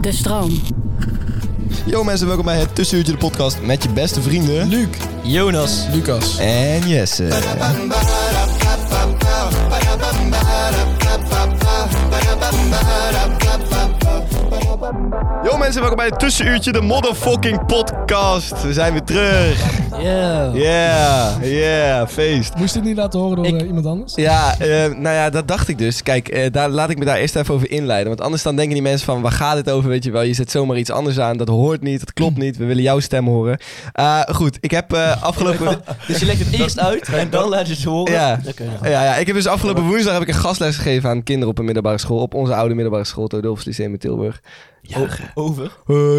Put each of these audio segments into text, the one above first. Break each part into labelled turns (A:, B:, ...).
A: De stroom.
B: Yo mensen, welkom bij het Tussenuurtje de podcast met je beste vrienden... Luc, Jonas
C: Lucas.
B: en Jesse. Yo mensen, welkom bij het Tussenuurtje de motherfucking podcast. We zijn weer terug. Oh. Yeah, yeah, feest.
C: Moest dit niet laten horen door eh, iemand anders?
B: Ja, eh, nou ja, dat dacht ik dus. Kijk, eh, daar, laat ik me daar eerst even over inleiden. Want anders dan denken die mensen van, waar gaat het over? Weet je wel, je zet zomaar iets anders aan. Dat hoort niet, dat klopt niet. We willen jouw stem horen. Eh, goed, ik heb eh, afgelopen...
D: Dus je legt het eerst uit en dan laat je het horen.
B: Ja.
D: Oké, ja.
B: Ja, ja, ik heb dus afgelopen woensdag heb ik een gastles gegeven aan kinderen op een middelbare school. Op onze oude middelbare school, het Odulfs Lyceum in Tilburg.
D: O- over.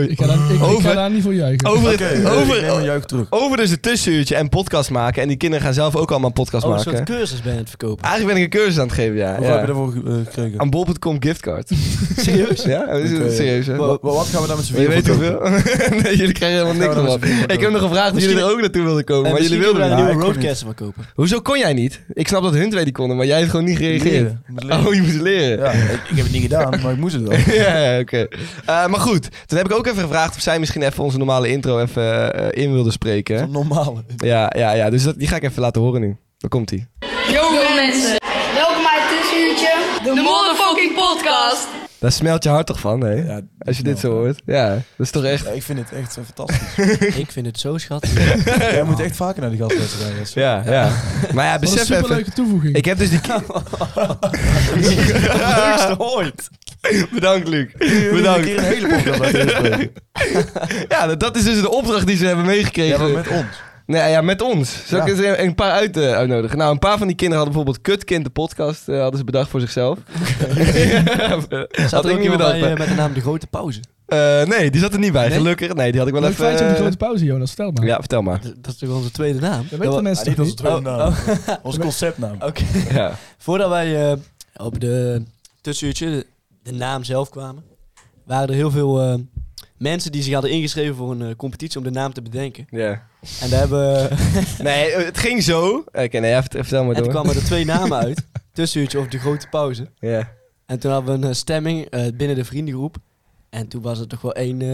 C: Ik ga, daar, ik, ik
B: Over.
C: ga daar niet voor juichen.
B: Over, het,
E: ik neem
B: over,
E: een juich terug.
B: over dus het tussenuurtje en podcast maken. En die kinderen gaan zelf ook allemaal een podcast
D: Oh, een soort
B: maken.
D: cursus ben je aan het verkopen.
B: Eigenlijk ben ik een cursus aan het geven, ja.
E: Hoeveel
B: ja.
E: heb je daarvoor eh, gekregen?
B: Aan bol.com giftcard.
D: Serieus?
B: ja, dat is
E: Oké.
B: serieus, hè?
E: Wa- wa- wat gaan we daar met z'n
B: eh, Je
E: vieren
B: weet
E: voor
B: hoeveel? nee, jullie krijgen helemaal niks
E: Gaan we
B: nog
E: daar
B: op.
E: met z'n vieren voor
B: Ik heb nog gevraagd of jullie
D: Misschien-
B: er ook naartoe wilden komen, maar jullie wilden
D: een
B: niet.
D: nieuwe
E: ik kon niet.
D: roadcaster van kopen.
B: Hoezo kon jij niet? Ik snap dat hun twee die konden, maar jij hebt gewoon niet
E: kopen?
B: gereageerd.
E: Leren. Moet leren.
B: Oh, je moest leren.
E: Ja, ik, ik heb het niet gedaan, maar ik moest het wel.
B: ja, oké. Eh, maar goed, toen heb ik ook even gevraagd of zij misschien even onze normale intro even eh, in wilde
E: Zo'n
B: spreken.
E: Normale.
B: Ja, ja, ja. Dus dat, die ga ik even laten horen nu. Daar komt ie.
F: Yo mensen,
G: Welkom bij het tussenuurtje.
F: de motherfucking podcast.
B: Daar smelt je hart toch van, hè?
E: Ja,
B: Als je dit zo hoort. Ja, dat is toch echt...
E: Ja, ik vind het echt eh, fantastisch.
D: Ik vind het zo schattig.
E: Jij moet echt vaker naar die gastwedstrijden. Jesse.
B: Ja, ja. Maar ja,
C: Wat een
B: besef even...
C: superleuke toevoeging.
B: Ik heb dus die...
D: Leukste ooit.
B: Bedankt, Luc.
E: Jullie moeten
B: Bedankt.
E: een keer een hele podcast laten inspreken.
B: Ja, dat- dat is dus de opdracht die ze hebben
E: Ja, maar
B: meegekregen.
E: met ons.
B: Nee, ja, met ons. Zal ik
E: Ja.
B: eens een, een paar uit, eh, uitnodigen? Nou, een paar van die kinderen hadden bijvoorbeeld Kutkind, de podcast, eh, hadden ze bedacht voor zichzelf.
D: Zat
B: Had
D: er
B: ik niet
D: ook iemand
B: bedacht.
D: bij eh, met de naam De Grote Pauze?
B: Eh, nee, die zat er niet bij, gelukkig. Nee, die had ik wel
C: Leuk
B: even...
C: feitje op de
B: eh,
C: grote pauze, Jonas. Vertel maar.
B: Ja, vertel maar.
D: Dat dat is toch onze tweede naam?
C: Dat weten de
E: Ja,
B: Ah,
C: mensen
E: niet
C: toch
E: onze
C: niet?
E: tweede
D: Oh,
E: naam. Onze conceptnaam.
D: Oké.
B: Ja.
D: Voordat wij eh, op de tussenuurtje, de, de naam zelf kwamen, waren er heel veel eh, mensen die zich hadden ingeschreven voor een eh, competitie om de naam te bedenken.
B: ja.
D: En daar hebben...
B: Nee, eh, het ging zo. Oké, nee, ja, vert- vertel maar
D: en
B: door.
D: toen kwamen er twee namen uit. Tussenuurtje of De Grote Pauze.
B: Ja.
D: En toen hadden we een eh, stemming eh, binnen de vriendengroep. En toen was er toch wel één eh,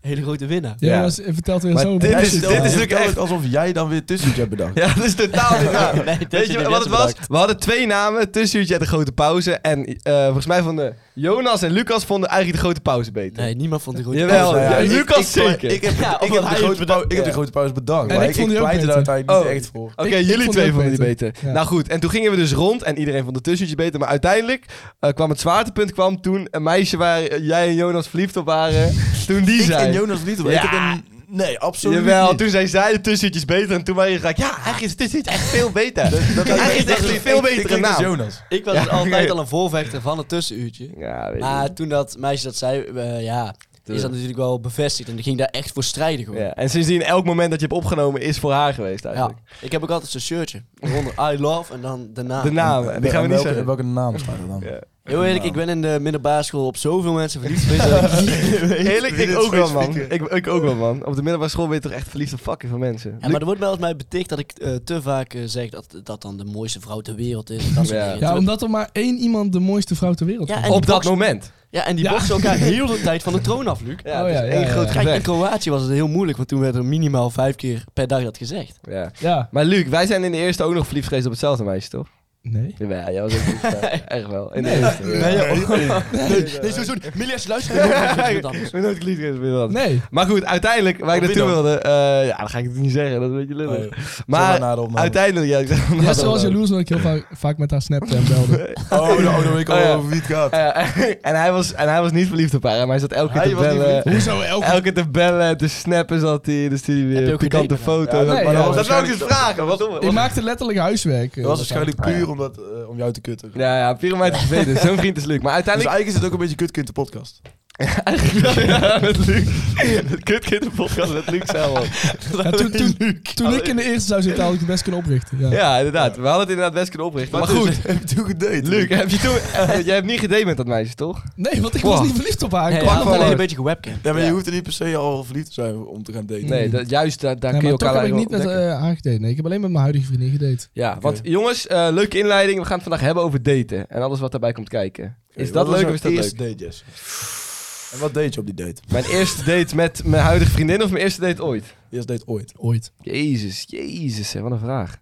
D: hele grote winnaar.
C: Jonas, vertelt weer
B: Maar
C: zo.
B: dit
E: Jij
B: is-
E: vertelt-
B: dit is
E: jij
B: natuurlijk
E: vertelt alsof jij dan weer tussenuurtje hebt bedacht.
B: ja, dat is totaal niet waar.
D: Nee, dat
B: Weet je wat het was? We hadden twee namen, tussenuurtje en de grote pauze. En eh, volgens mij vonden Jonas en Lucas vonden eigenlijk de grote pauze beter.
D: Nee, niemand vond de grote
B: Jawel,
E: Nou ja,
B: ja,
E: ik-
B: Lucas zeker.
E: Ik heb,
D: Ja,
E: ik
D: omdat
E: heb, de,
D: hij
E: grote
D: het
E: pauze, ik heb de
D: ja.
E: grote pauze bedacht.
C: En
E: maar
C: ik
E: ik,
C: vond
E: ik
C: die ook
E: pleit er
C: beter.
E: uiteindelijk
B: Oh.
E: niet echt voor.
B: Oké,
C: Ik- ik
B: jullie
C: vond
B: twee
C: het ook
B: vonden die beter.
C: beter. Ja.
B: Nou goed, en toen gingen we dus rond en iedereen vond de tussentje beter. Maar uiteindelijk eh, kwam het zwaartepunt kwam toen een meisje waar eh, jij en Jonas verliefd op waren. toen die
E: Ik
B: zei.
E: en Jonas niet. hoor. Ik
B: Ja.
E: heb een- Nee, absoluut
B: Jawel,
E: niet.
B: toen zei zij de tussentjes beter. En toen waren jullie gelijk, ja, eigenlijk is het tussentje echt veel beter. eigenlijk is het echt een veel betere
E: Ik denk dat
B: naam.
E: Jonas.
D: Ik was
B: Ja,
D: dus altijd
B: oké.
D: al een voorvechter van het tussenuurtje.
B: Ja, weet je.
D: Maar toen dat meisje dat zei, eh, ja, is dat natuurlijk wel bevestigd. En die ging daar echt voor strijden gewoon.
B: Ja, en sindsdien, elk moment dat je hebt opgenomen is voor haar geweest
D: Ja,
B: eigenlijk.
D: ik heb ook altijd zo'n shirtje. Onder I love en dan de naam.
B: De naam, en die gaan we niet
E: En welke-
B: zeggen.
E: Welke naam staat er dan?
B: Ja.
D: Heel eerlijk, ik ben in de middelbare school op zoveel mensen verliefd geweest. dat ik niet-
B: Eerlijk,
E: Wie
B: ik
E: dit
B: ook wel, man.
E: specifieke-
B: Ik, ik ook wel, man. Op de middelbare school ben je toch echt verliefd op fucking van mensen.
D: Ja, maar er wordt wel eens mij beticht dat ik eh, te vaak eh, zeg dat dat dan de mooiste vrouw ter wereld is. en Dat soort
B: Ja.
D: dingen.
C: Ja, omdat er maar één iemand de mooiste vrouw ter wereld
D: Ja,
C: vond.
D: en-
B: Op dat
D: Max-
B: moment.
D: Ja, en die
C: Ja.
D: boksen elkaar heel de tijd van de troon af, Luc.
B: Oh Ja,
C: Oh
B: het
C: ja,
B: is
C: ja,
B: één
C: ja,
B: groot
C: ja.
D: Kijk, in
B: gevecht.
D: Kroatië was het heel moeilijk, want toen werd er minimaal vijf keer per dag dat gezegd.
B: Ja.
C: Ja.
B: Maar Luc, wij zijn in de eerste ook nog verliefd geweest op hetzelfde meisje, toch?
C: Nee.
B: Ja, jij was ook niet vet. Echt wel. In de eerste.
D: Nee, joh. nee, nee, sowieso niet. Millie, als je luistert, dan doe ik het anders.
B: Ik ben nooit geliefd geweest, ben je dat.
C: Nee.
B: Maar goed, uiteindelijk, waar ik
D: Wat
B: naartoe
D: wie dan?
B: wilde... eh, ja, dan ga ik het niet zeggen, dat is een beetje
E: Oh,
B: lullig. Maar
E: na de opname.
B: uiteindelijk, ja, ik zeg... nou.
C: Ja, zoals jaloers dat ik heel vaak, vaak met haar snapte en belde.
E: Oh, nou, dan weet ik
B: Oh,
E: al
B: ja.
E: over wie het gaat.
B: Eh, en, hij was, en hij was niet verliefd op haar, maar hij zat elke keer
E: Hij
B: te
E: was niet
B: bellen.
E: verliefd.
C: Hoezo elke...
B: Elke keer te bellen, te snappen zat hij. Dus die
D: Heb je
B: weer
D: ook gedate
B: pikante
D: met hem?
B: foto's.
C: Ja, nee,
B: maar
C: ja.
B: dat was
E: Dat
B: ook
E: was
B: eens vragen. Wat doen we?
C: Ik maakte letterlijk huiswerk. eh,
E: Dat was
C: met
E: waarschijnlijk puur omdat, eh, om jou te kutten.
B: Ja, ja, Pyramid is beter. Zo'n vriend is Luc. Maar
E: Dus
B: uiteindelijk...
E: eigenlijk is het ook een beetje kutkind de podcast.
B: eigenlijk wel, ja, met Luc. Met Kutkind de podcast met Luc zelf.
C: haar. Ja, toen toen, toen ik in de eerste zou zitten, had ik het best kunnen oprichten. Ja.
B: Ja, inderdaad. We hadden het inderdaad best kunnen oprichten. Maar goed,
E: heb je toen gedate?
B: Luc, heb je toen... eh, jij hebt niet gedate met dat meisje, toch?
C: Nee, want ik
B: Wow.
C: was niet verliefd op haar. Ik
D: Nee,
C: kwam
D: ja,
C: op
B: wel
C: haar-
D: alleen
B: uit.
D: een beetje gewebcam.
E: Ja, maar je hoeft er niet per se al verliefd te zijn om te gaan daten.
B: Nee, dat, juist daar, daar
C: Nee,
B: kun
C: maar
B: je
C: toch
B: elkaar
C: heb ik niet
B: eigenlijk
C: met
B: wel
C: eh, haar gedate. Nee, ik heb alleen met mijn huidige vriendin gedate.
B: Ja, want jongens, eh, leuke inleiding. We gaan het vandaag hebben over daten en alles wat daarbij komt kijken. Is dat leuk of is dat
E: eerste
B: leuk?
E: date, Jess? En wat deed je op die date?
B: Mijn eerste date met mijn huidige vriendin of mijn eerste date ooit?
E: Eerste date ooit.
C: Ooit.
B: Jezus, jezus, hè, wat een vraag.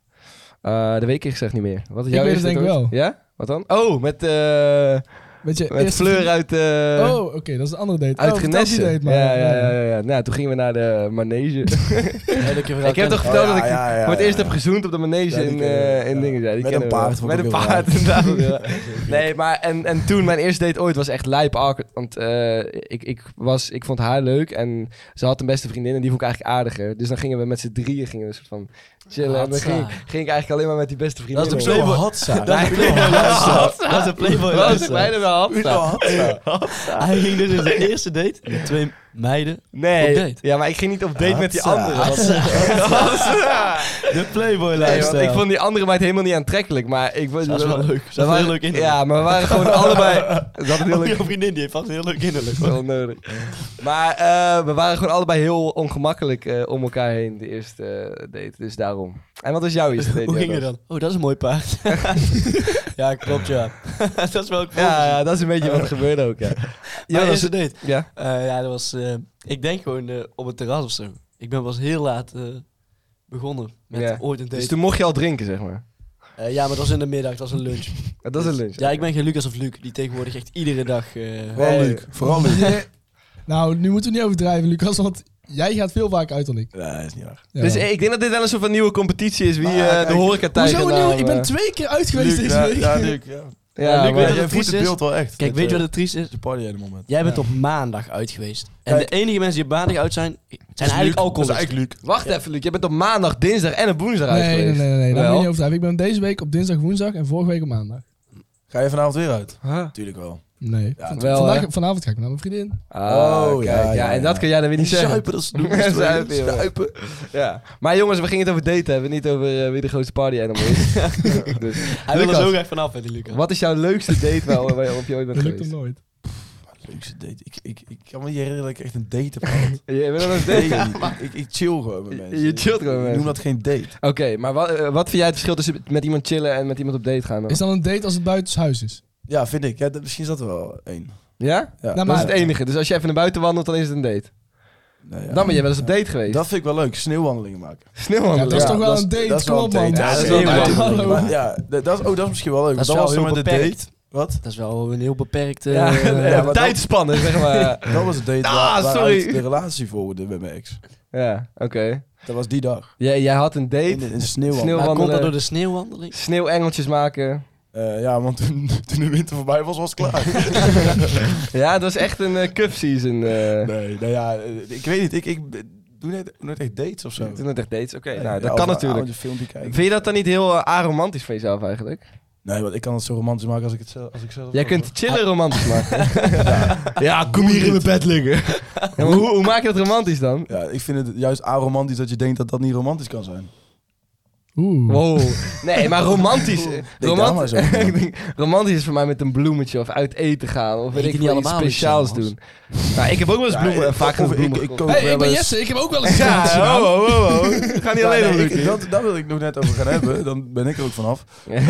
B: Eh, de week ik zeg niet meer. Wat is
C: Ik
B: jouw
C: weet het
B: eerste
C: denk ik
B: date ooit? Ja? Wat dan? Oh, met, eh
C: Weet je,
B: met
C: eerste-
B: Fleur uit... eh,
C: Oh, oké, dat is een andere date.
B: Uit
C: oh, vertel die
B: Genessen.
C: date, maar.
B: ja, ja, ja, ja, ja. Nou, toen gingen we naar de manege. ik heb toch verteld
E: Oh, ja,
B: dat ik
E: ja, ja,
B: voor het
E: ja,
B: eerst
E: ja.
B: heb gezoend op de manege
E: Ja, die
B: in,
E: kennen we,
B: eh, in
E: ja.
B: dingen. Ja, die
E: Met
B: kennen
E: een
B: we.
E: paard, vond
B: Met
E: ik
B: een
E: ook wel
B: paard, inderdaad. ja. Nee, maar en, en toen, mijn eerste date ooit was echt lijp awkward. Want eh, ik, ik, was, ik vond haar leuk en ze had een beste vriendin en die vond ik eigenlijk aardiger. Dus dan gingen we met z'n drieën gingen we een soort van chillen. En dan
D: Hatsa.
B: ging, ging ik eigenlijk alleen maar met die beste vriendin.
D: Dat is
B: om.
D: een playboy. Dat is een playboy. Dat is een playboy.
B: Dat was bijna wel Hatsa.
D: Hij ging dus in zijn eerste date met twee meiden.
B: Nee,
D: Op date?
B: ja, maar ik ging niet op date met die
E: Hatsa.
B: andere. Hatsa.
D: De playboy
B: Nee, want
D: lijst.
B: ik vond die andere meid helemaal niet aantrekkelijk, maar ik vond
D: Dat is wel leuk. Dat is
B: Dat
D: wel
B: waren,
D: heel leuk in.
B: Ja, maar we waren gewoon allebei. Dat is heel leuk.
D: Jouw vriendin die heeft vast een heel leuk innerlijk.
B: Wel nodig. Maar eh, we waren gewoon allebei heel ongemakkelijk eh, om elkaar heen de eerste eh, date. Dus daarom. En wat is jouw eerste date?
D: Hoe ging het
B: Jonas?
D: dan? Oh, dat is een mooi paard. ja, klopt ja. dat is wel klopt.
B: Ja, ja, dat is een beetje
D: Eh,
B: wat er gebeurde ook. Ja.
D: Mijn
B: Jonas,
D: eerste date.
B: ja.
D: Eh, ja, dat was. eh, ik denk gewoon eh, op het terras of zo. Ik ben pas heel laat eh, begonnen met
B: Ja.
D: ooit een date.
B: Dus toen mocht je al drinken, zeg maar.
D: Eh, ja, maar dat was in de middag, dat was een lunch.
B: Dat is een lunch.
D: Ja, ik ben geen Lucas of Luc, die tegenwoordig echt iedere dag. eh,
E: Vooral
B: Nee.
E: Luc. Vooral Luc.
C: Je- nou, nu moeten we niet overdrijven, Lucas, want jij gaat veel vaker uit dan ik.
E: Nee, is niet waar.
C: Ja.
B: Dus eh, ik denk dat dit wel een soort van nieuwe competitie is. Wie
E: Ah,
B: eh,
E: kijk.
B: de horeca
C: Hoezo nieuw? Ik
B: eh.
C: ben twee keer uit geweest
E: Luc,
C: deze
E: ja,
C: week.
E: ja, Luc, ja.
B: Ja,
D: Luc,
B: maar-
D: weet je-
E: Jij
D: het
E: voelt
D: triest
E: het
D: is?
E: beeld wel echt.
D: Kijk,
E: Dit,
D: weet je wat
E: eh,
D: het triest is?
E: De party aan moment.
D: Jij bent
C: Ja.
D: op maandag uit geweest. En
E: Kijk.
D: de enige mensen die op maandag uit zijn, het zijn
E: Dat is
D: eigenlijk
E: Luc. Dat is
D: alcoholisten.
E: eigenlijk Luc.
B: Wacht even, Luc. Je bent op maandag, dinsdag en op woensdag uit
C: Nee, nee, nee,
B: geweest.
C: nee, nee. dat moet je
B: Wel.
C: niet overdrijven. Ik ben deze week op dinsdag, woensdag en vorige week op maandag.
E: Ga je vanavond weer uit?
B: Huh?
E: Tuurlijk wel.
C: Nee.
E: Ja,
C: Van-
B: wel,
C: vandaag-
B: hè?
C: vanavond ga ik naar mijn vriendin.
B: Ah,
E: Oh,
B: kijk,
E: ja,
B: ja,
E: ja,
B: En
E: ja.
B: dat kun jij dan weer niet zeggen.
E: Zuipen, dat is
B: Zuipen,
E: Luc.
B: jongen.
E: Zuipen.
B: Ja. Maar jongens, we gingen het over daten hebben, niet over eh, wie de grootste party animal is. dus,
D: Hij wil er
B: Lucas.
D: zo graag vanaf, hè, die Lucas.
B: wat is jouw leukste date waar, waar je op je ooit bent
C: Dat lukt hem
B: geweest?
C: nooit.
E: Leukste date. Ik, ik, ik kan me niet herinneren dat ik echt een date heb gehad.
B: Je bent wel eens
E: Nee,
B: date.
E: ik, ik chill gewoon met
B: Je-
E: mensen.
B: je chillt gewoon met
E: Ik
B: mensen.
E: noem dat geen date.
B: Oké, maar wat, eh, wat vind jij het verschil tussen met iemand chillen en met iemand op date gaan? dan?
C: Is dan een date als het buitenshuis is?
E: Ja, vind ik. Ja, dat- misschien is dat er wel één.
B: Ja?
E: Ja.
C: Nou,
B: Dat
C: maar-
B: is het enige. Dus als je even naar buiten wandelt, dan is het een date.
E: Nou ja.
B: Dan ben je wel eens op date geweest.
E: Dat vind ik wel leuk. Sneeuwwandelingen maken.
C: Ja,
B: Sneeuwwandelen.
C: dat is toch wel
E: dat is-
C: een date?
E: dat is
C: Kom
E: wel
C: op,
E: een
C: man.
E: date.
B: Ja, dat is
C: Hallo.
B: wel een date.
C: Hallo.
E: Maar ja, dat, dat, is- oh, dat is misschien wel leuk.
D: Dat
E: Dat,
D: is wel
E: was dan
D: heel
E: maar de
D: beperkt.
E: date. Wat?
D: Dat is wel een heel beperkt... eh,
B: Ja,
D: eh,
E: ja, maar dat-
B: tijdspannen, zeg maar.
E: Dat was de date
B: Ah,
E: waar, waaruit
B: sorry.
E: de relatie voorwoordde met mijn ex.
B: ja, oké.
E: Dat was die dag.
B: Jij, jij had een
E: In,
B: date,
E: de- in de sneeuwwandeling.
B: Sneeuw-
D: maar komt dat
B: wandelen.
D: door de sneeuwwandeling?
B: sneeuwengeltjes maken.
E: Eh, ja, want toen, toen de winter voorbij was, was het klaar.
B: Ja, dat was echt een eh cup season. eh.
E: nee, nou ja, eh, ik weet niet. Ik, ik doe net, nooit echt dates of zo.
B: Toen het echt dates. Oké,
E: Nee,
B: nou, dat
E: ja,
B: kan
E: of een
B: natuurlijk.
E: oude filmpje kijken.
B: Vind je dat dan niet heel eh, aromantisch van jezelf eigenlijk?
E: Nee, want ik kan het zo romantisch maken als ik het zelf, als ik zelf Ah,
B: Jij
E: ook
B: kunt chillen romantisch maken. ja, kom hier in mijn bed liggen. Ja, maar hoe, hoe maak je dat romantisch dan?
E: wil. Ja, ik vind het juist aromantisch dat je denkt dat dat niet romantisch kan zijn.
C: Oeh.
B: Wow. Nee, maar romantisch. eh,
E: Denk daar maar
B: Romant
E: zo over na.
B: Ik denk, romantisch is voor mij met een bloemetje of uit eten gaan. Of weet
D: Eten
B: ik
D: niet
B: veel, iets
D: allemaal iets,
B: speciaals
D: jongens.
B: doen. Nou, ik heb ook wel eens
E: Ja,
B: bloemen,
E: ik-
B: vaak
E: of
B: een
E: ik-
B: bloemen
E: ik
B: gekocht.
E: koop
C: Hey, ik ben
E: wel eens-
C: Jesse, ik heb ook wel eens Nou,
B: Ja,
C: gedaan.
B: oh, oh, oh. Ga niet
E: Ja,
B: alleen
E: nee,
B: om
E: ik-
B: Luc.
E: dat, dat wil ik nog net over gaan hebben. Dan ben ik er ook vanaf. Ehm,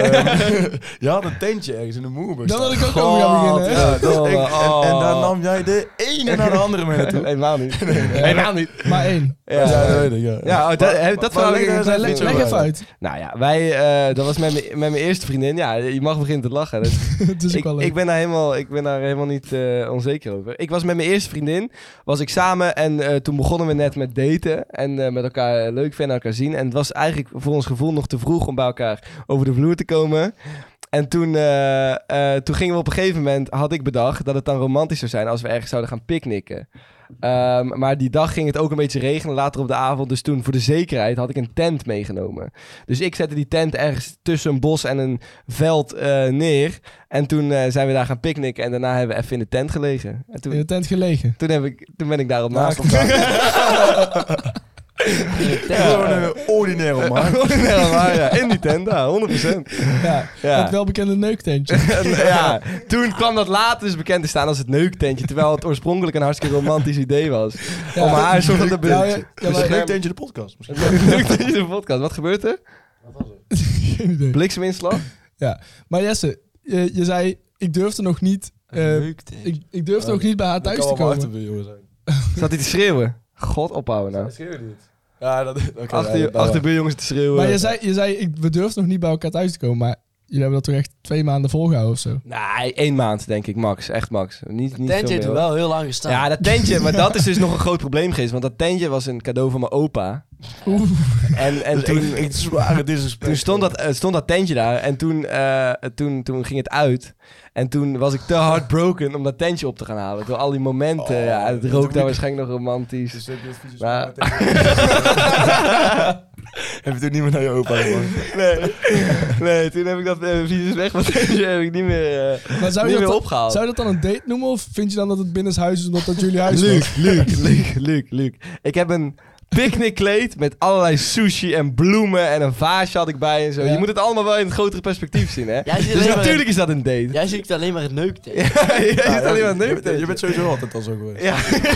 E: je had een tentje ergens in de Moerburg.
C: Dan wil
E: staan. Oh,
C: ik ook over gaan beginnen. hè?
B: Oh.
E: Ja, dat is echt- en, en daarna nam jij de ene naar de andere mee naartoe.
B: Helemaal niet. Helemaal niet.
C: Maar één.
B: Ja,
E: Ja, dat weet ik, ja.
B: Ja, oh, dat-
E: Maar-
B: eh, dat
E: maar-
B: verhaal
E: maar
B: heb ik
E: leg
B: in
E: daar eens
B: zijn
E: iets
C: Leg
E: over
C: even uit.
B: Nou ja, wij, eh, dat was met mijn- met mijn eerste vriendin. Ja, je mag beginnen te lachen. Dat
C: Het is ook
B: ik,
C: dus wel eh. leuk.
B: ik ben daar helemaal, ik ben daar helemaal niet eh, onzeker over. Ik was met mijn eerste vriendin, was ik samen en eh, toen begonnen we net met daten en eh, met elkaar leuk vinden, elkaar zien. En het was eigenlijk voor ons gevoel nog te vroeg om bij elkaar over de vloer te komen. En toen, eh, eh, toen gingen we op een gegeven moment, had ik bedacht dat het dan romantisch zou zijn als we ergens zouden gaan picknicken. Ehm, maar die dag ging het ook een beetje regenen later op de avond. Dus toen, voor de zekerheid, had ik een tent meegenomen. Dus ik zette die tent ergens tussen een bos en een veld eh, neer. En toen eh, zijn we daar gaan picknicken en daarna hebben we even in de tent gelegen. En
C: In de
B: toen,
C: tent gelegen.
B: toen, heb ik, toen ben ik daarop
E: Naast
B: naast.
E: Gewoon een ordinaire man.
B: Ja, maar ja, in die tent, ja, 100%.
C: Ja.
B: Ja.
C: Het welbekende neuktentje.
B: En, ja, toen kwam dat later dus bekend te staan als het neuktentje. Terwijl het oorspronkelijk een hartstikke romantisch idee was.
C: Ja.
B: Om haar een soort van de
C: Ja, ja, ja, maar-
E: Leuk tentje de podcast. Misschien.
B: Neuktentje de podcast. Wat gebeurt er?
C: Geen idee.
B: Blikseminslag?
C: Maar Jesse, je, je zei, ik durfde nog niet, eh,
D: Leuk, denk ik.
C: ik, ik durfde nog niet bij haar thuis te
E: Kan wel
C: komen.
E: achter de jongen zijn.
B: Zat hij te schreeuwen? God ophouden nou.
E: Schreeuw niet. Ja, dat oké, ja,
B: Achter, je-
E: dat-
B: achter buurjongens te schreeuwen.
C: Maar je zei, je zei ik, we durfden nog niet bij elkaar thuis te komen, maar jullie hebben dat toch echt twee maanden volgehouden of zo?
B: Nee, één maand denk ik, max. Echt max. Niet, niet
D: Tentje
B: veel meer,
D: heeft er
B: hoor.
D: wel heel lang gestaan.
B: Ja, dat tentje. Maar dat is dus nog een groot probleem geweest. Want dat tentje was een cadeau van mijn opa. En, en
E: Dat is
B: toen...
E: echt- echt zware disrespect.
B: Toen stond dat, eh, stond dat tentje daar en toen, eh, toen, toen ging het uit. En toen was ik te heartbroken om dat tentje op te gaan halen. Door al die momenten.
E: Oh,
B: ja, het
E: dat
B: rook
E: moet
B: daar
E: ik-
B: waarschijnlijk nog romantisch.
E: Dus heb je het vieze
B: Maar-
E: smaak meteen- Heb je toen niet meer naar je opa gemaakt?
B: Nee, nee toen heb ik dat uh, weg, want tentje heb ik niet meer, eh,
C: Maar zou,
B: niet
C: je
B: meer
C: dat,
B: opgehaald.
C: zou je dat dan een date noemen of vind je dan dat het binnenshuis is omdat dat jullie huis was?
B: Luc, Luc, Luc, Luc, Luc. Ik heb een picknickkleed met allerlei sushi en bloemen en een vaasje had ik bij en zo.
C: Ja.
B: Je moet het allemaal wel in het grotere perspectief zien, hè?
D: Jij ziet
B: Dus
D: alleen maar-
B: natuurlijk is dat een date.
D: Jij ziet alleen maar het neuktentje.
B: Ja, je zit alleen maar
E: je,
B: neemt.
E: bent- je bent sowieso altijd al zo geweest.
B: Ja.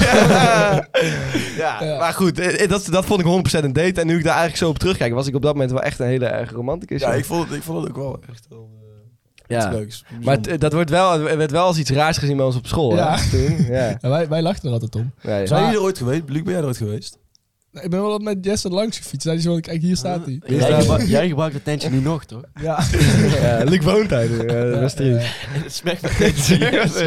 B: ja.
C: Ja.
B: maar goed, eh, eh, dat, dat vond ik 100% een date. En nu ik daar eigenlijk zo op terugkijk, was ik op dat moment wel echt een hele erg romanticus.
E: Ja,
B: joh.
E: ik vond het, ik vond het ook wel echt wel
B: Ja.
E: iets leuks.
B: Maar het, eh, dat wordt wel, het werd wel als iets raars gezien bij ons op school.
C: Ja.
B: Hè? Toen, ja.
C: Ja, wij, wij lachten er altijd om.
B: Nee.
E: Zijn
C: Maar-
E: jullie er ooit geweest? Luc, ben jij er ooit geweest?
C: Nou, ik ben wel met Jesse langs gefietst. Hij zei, kijk, hier staat hij.
B: Hier
D: Jij,
B: staat-
D: gebru- jij gebruikt het tentje nu nog, toch?
C: Ja.
B: Ja, Luc woont daar nu. Ja, dat was triest.
D: Het smaakt nog steeds serieus.
E: Ja,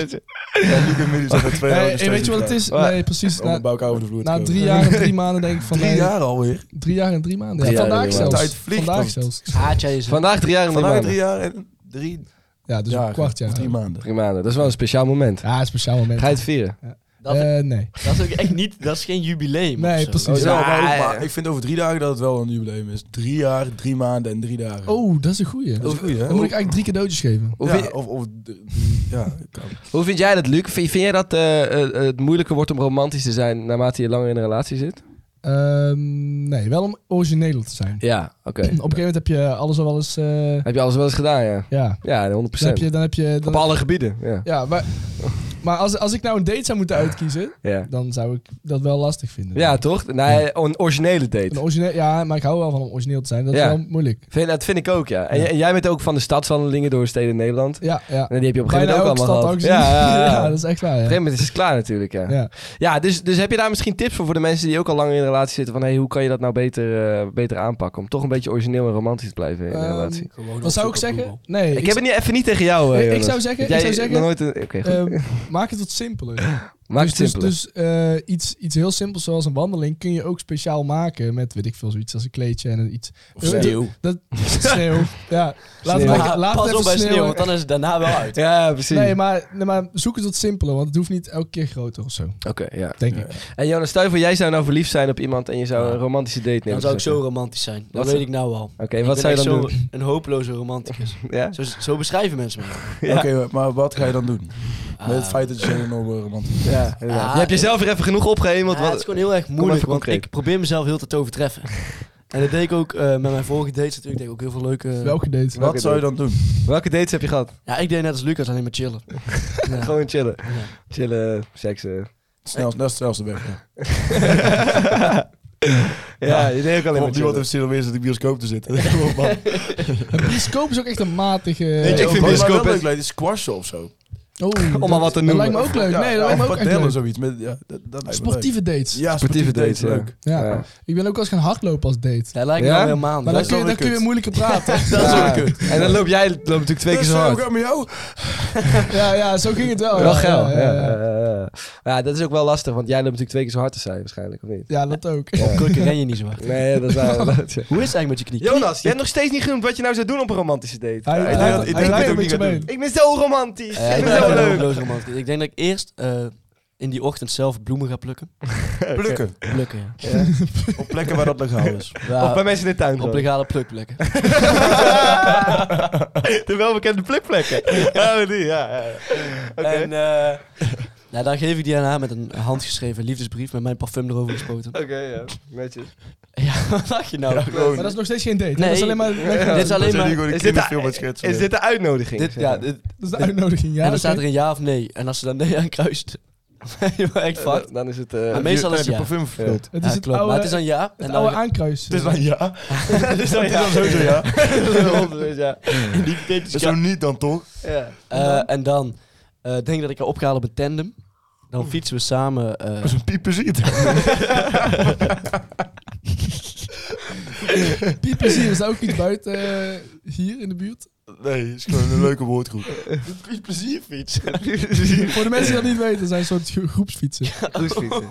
E: Luc en Miri zijn er twee
C: Nee,
E: jaar
C: hey, weet je wat het is?
B: Waar-
C: Nee, precies.
E: Om
C: Na,
E: bij elkaar over de vloer
C: na
E: te
C: drie
E: komen.
C: jaar en drie maanden denk ik van...
E: Drie
C: nee,
E: jaar alweer?
C: Drie jaar en drie maanden.
B: Drie
C: Ja,
B: jaar en
C: vandaag
B: drie maanden.
C: zelfs.
E: Tijd vliegt,
C: vandaag
E: want-
C: zelfs.
D: Haat jij jezelf?
B: Vandaag drie jaar en drie
E: Vandaag drie
B: maanden.
E: jaar en drie
C: Ja, dus
E: jaar.
C: een kwart jaar.
E: Drie maanden.
B: Drie maanden. Dat is wel een speciaal moment.
C: Ja, een speciaal moment.
B: Ga je het vieren?
D: Dat,
C: Eh, nee.
D: dat is ook echt niet, dat is geen jubileum.
C: Nee,
D: of zo.
C: precies.
E: Oh, ja,
B: Ja, ja.
E: maar, maar ik vind over drie dagen dat het wel een jubileum is. Drie jaar, drie maanden en drie dagen.
C: Oh, dat is een goeie.
E: dat is goed, hè?
C: Dan moet ik eigenlijk drie cadeautjes geven.
B: Hoe,
E: ja,
B: vind,
E: of, of d- ja, kan.
B: hoe vind jij dat, Luc? Vind, vind jij dat eh, eh, het moeilijker wordt om romantisch te zijn naarmate je langer in een relatie zit?
C: Ehm, nee, wel om origineel te zijn.
B: Ja, oké.
C: Op een gegeven moment heb je alles al wel eens... eh,
B: Heb je alles wel eens gedaan, ja?
C: ja,
B: Ja, 100%.
C: dan heb je... Dan heb je
B: Op
C: dan,
B: alle gebieden, ja.
C: ja, maar, maar als, als ik nou een date zou moeten uitkiezen,
B: Ja,
C: dan zou ik dat wel lastig vinden.
B: ja toch? Nee, een originele date.
C: Een origineel, ja, maar ik hou wel van om origineel te zijn. Dat
B: Ja.
C: is wel moeilijk.
B: Vind, dat vind ik ook, ja. En,
C: Ja.
B: j- en jij bent ook van de stadswandelingen door steden in Nederland.
C: Ja, ja.
B: En die heb je op een gegeven
C: Bijna
B: moment ook
C: elke
B: allemaal
C: stad
B: gehad.
C: ook zien.
B: Ja, ja, ja.
C: dat is echt waar.
B: Op
C: Ja.
B: een gegeven moment is het klaar natuurlijk, ja. Ja,
C: Ja.
B: dus, dus heb je daar misschien tips voor voor de mensen die ook al langer in een relatie zitten? Van, hey, hoe kan je dat nou beter, eh, beter aanpakken? Om toch een beetje origineel en romantisch te blijven in een
C: Ehm,
B: relatie.
D: Gewoon
C: Wat zou ik
D: opzoeken op
C: zeggen? Nee,
B: Ik, heb het niet, even niet tegen jou, eh,
C: Ik- ik
B: Jonas.
C: zou zeggen-
B: Want
C: ik
B: jij
C: zou
B: nog
C: zeggen,
B: Nooit een, oké, goed.
C: ehm, maak het wat simpeler.
B: Maak
C: dus
B: het simpeler.
C: dus, dus eh, iets, iets heel simpels zoals een wandeling kun je ook speciaal maken met, weet ik veel, zoiets als een kleedje en een iets.
E: Of
C: Eh,
E: sneeuw.
C: Dat, sneeuw. Ja,
B: Sneeuw.
C: laat het,
D: Google.
C: lekker-
D: Maar
C: laat het
D: Ah, pas op
C: even
D: bij sneeuw,
C: sneeuwen.
D: want dan is het daarna wel uit.
B: ja, precies.
C: dus- Nee maar, nee, maar zoek het wat simpeler, want het hoeft niet elke keer groter of zo,
B: Oké, ja.
C: denk
E: Ja.
C: ik.
B: En Jonas, stel je voor, jij zou nou verliefd zijn op iemand en je zou
D: Ja.
B: een romantische date nemen.
D: Dan zou ik zo
B: Oké,
D: romantisch zijn.
B: Wat
D: Dat
B: zou-
D: weet ik nou al.
B: wat
D: ik
B: zou
D: ben
B: je dan
D: echt zo
B: doen?
D: een hopeloze romanticus.
B: Ja?
D: Zo, zo beschrijven mensen me.
B: Ja.
E: Oké, maar wat ga je dan doen?
D: Ah.
E: Met het feit dat je zegt, nog eh, romantisch
B: Ja, inderdaad.
D: Ah,
B: je hebt jezelf weer even genoeg opgehemeld.
D: Ja,
B: wat-
D: Ah, het is gewoon heel erg moeilijk,
B: even
D: want
B: concreet.
D: ik probeer mezelf heel te overtreffen. en dat deed ik ook eh, met mijn vorige dates natuurlijk. Deed ik ook heel veel leuke...
C: Welke date?
B: Welke
E: Wat zou je dan doen?
B: Welke dates heb je gehad?
D: Ja, ik deed net als Lucas, alleen maar chillen. Ja.
B: Gewoon chillen.
D: Ja.
B: Chillen, seksen.
E: Snel, dat is het snelste weg. Ja.
B: ja, je deed ook alleen maar
E: Niemand
B: chillen.
E: heeft zin om eens in de bioscoop te zitten. Kom op, man.
C: Een bioscoop is ook echt een matige...
B: Weet je, ik vind
E: wat mij wel
B: bioscoop
E: leuk
B: best-
E: lijkt, is squashen of zo.
C: Oh,
B: Om maar wat te
C: dat
B: noemen.
C: lijkt me ook leuk. Nee, dat lijkt me ook echt
E: padellen
C: leuk.
E: zoiets. Met, ja, dat, dat lijkt me
C: Sportieve dates.
E: leuk. Ja, sportieve dates.
B: ja.
E: Leuk.
C: Ja.
B: Ja.
C: Ik ben ook wel eens gaan hardlopen als date.
D: Dat lijkt me
B: Ja?
D: wel helemaal niet.
C: Maar dan
E: dat
C: kun, je,
E: is wel
C: dan kun
E: weer
C: je
E: kut.
C: moeilijker praten.
E: Dat is
B: Ja.
E: ook kut.
B: En dan loop jij loopt natuurlijk twee keer
E: Dus
B: zo
E: zo,
B: hard.
E: ik ook met jou.
C: ja, ja, zo ging het wel.
B: Wel
C: ja,
B: geil.
C: Ja,
B: Ja,
C: ja, ja.
B: ja, ja. Maar ja, dat is ook wel lastig, want jij loopt natuurlijk twee keer zo hard als zij waarschijnlijk, of niet?
C: Ja, dat ook.
D: Op krukken ren je niet zo hard.
B: Nee, dat is wel... dat-
D: Hoe is het eigenlijk met je knie?
B: Jonas, jij hebt nog steeds niet genoemd wat je nou zou doen op een romantische date.
C: Hij,
E: ik
C: hij,
E: denk dat-
C: hij
E: ik denk dat
C: lijkt
E: ik
C: een
E: ook niet
C: beetje
E: ga
C: mee.
E: doen.
B: Ik ben zo romantisch.
D: Ja,
B: ik ben
D: ik ben
B: zo
D: wel
B: leuk.
D: hopeloos romantisch. Ik denk dat ik eerst eh, in die ochtend zelf bloemen ga plukken.
E: Plukken.
D: Plukken, ja.
E: Op plekken waar dat legaal is.
D: Ja,
B: Of bij mensen in de tuin.
D: op
B: gewoon.
D: legale plukplekken.
B: de welbekende plukplekken. Ja, die, ja. ja. Oké.
D: En eh, nou, dan geef ik die aan haar met een handgeschreven liefdesbrief met mijn parfum erover gespoten.
B: Oké, ja. Netjes.
D: Ja, wat dacht je nou?
C: Maar dat is nog steeds geen date. hè?
D: Nee.
C: Dat is alleen maar
D: dit is alleen maar...
E: Is
B: Is
E: dit
B: dit,
E: een film met
B: de,
E: schetsen?
B: is dit de uitnodiging?
D: Dit, ja, dit,
C: dat is de uitnodiging. Ja,
D: en dan staat
C: oké.
D: er een ja of nee. En als ze dan nee aan kruist, ben je wel echt
B: Eh,
D: fucked.
B: dan, dan is het... eh,
D: Maar meestal is het ja.
E: parfum verspild.
C: Het
D: Ja,
C: is het
D: klopt.
C: oude,
D: maar het is dan ja.
C: het
D: En
C: oude
D: dan
C: aankruis.
E: Het is dan ja.
B: dat is dan
E: Het is dan sowieso ja.
B: ja.
E: Dat is Zo niet dan toch?
B: Ja.
D: eh, en dan eh, denk dat ik haar op ga halen op een tandem. Dan fietsen we samen... eh,
E: Dat is een pieper ziet.
C: Piepen zie je, is daar ook iets buiten eh, hier in de buurt?
E: Nee, het is gewoon een leuke woordgroep.
D: plezierfiets.
C: Voor de mensen die dat niet weten, dat zijn een soort gro- groepsfietsen.
B: Cruisefietsen.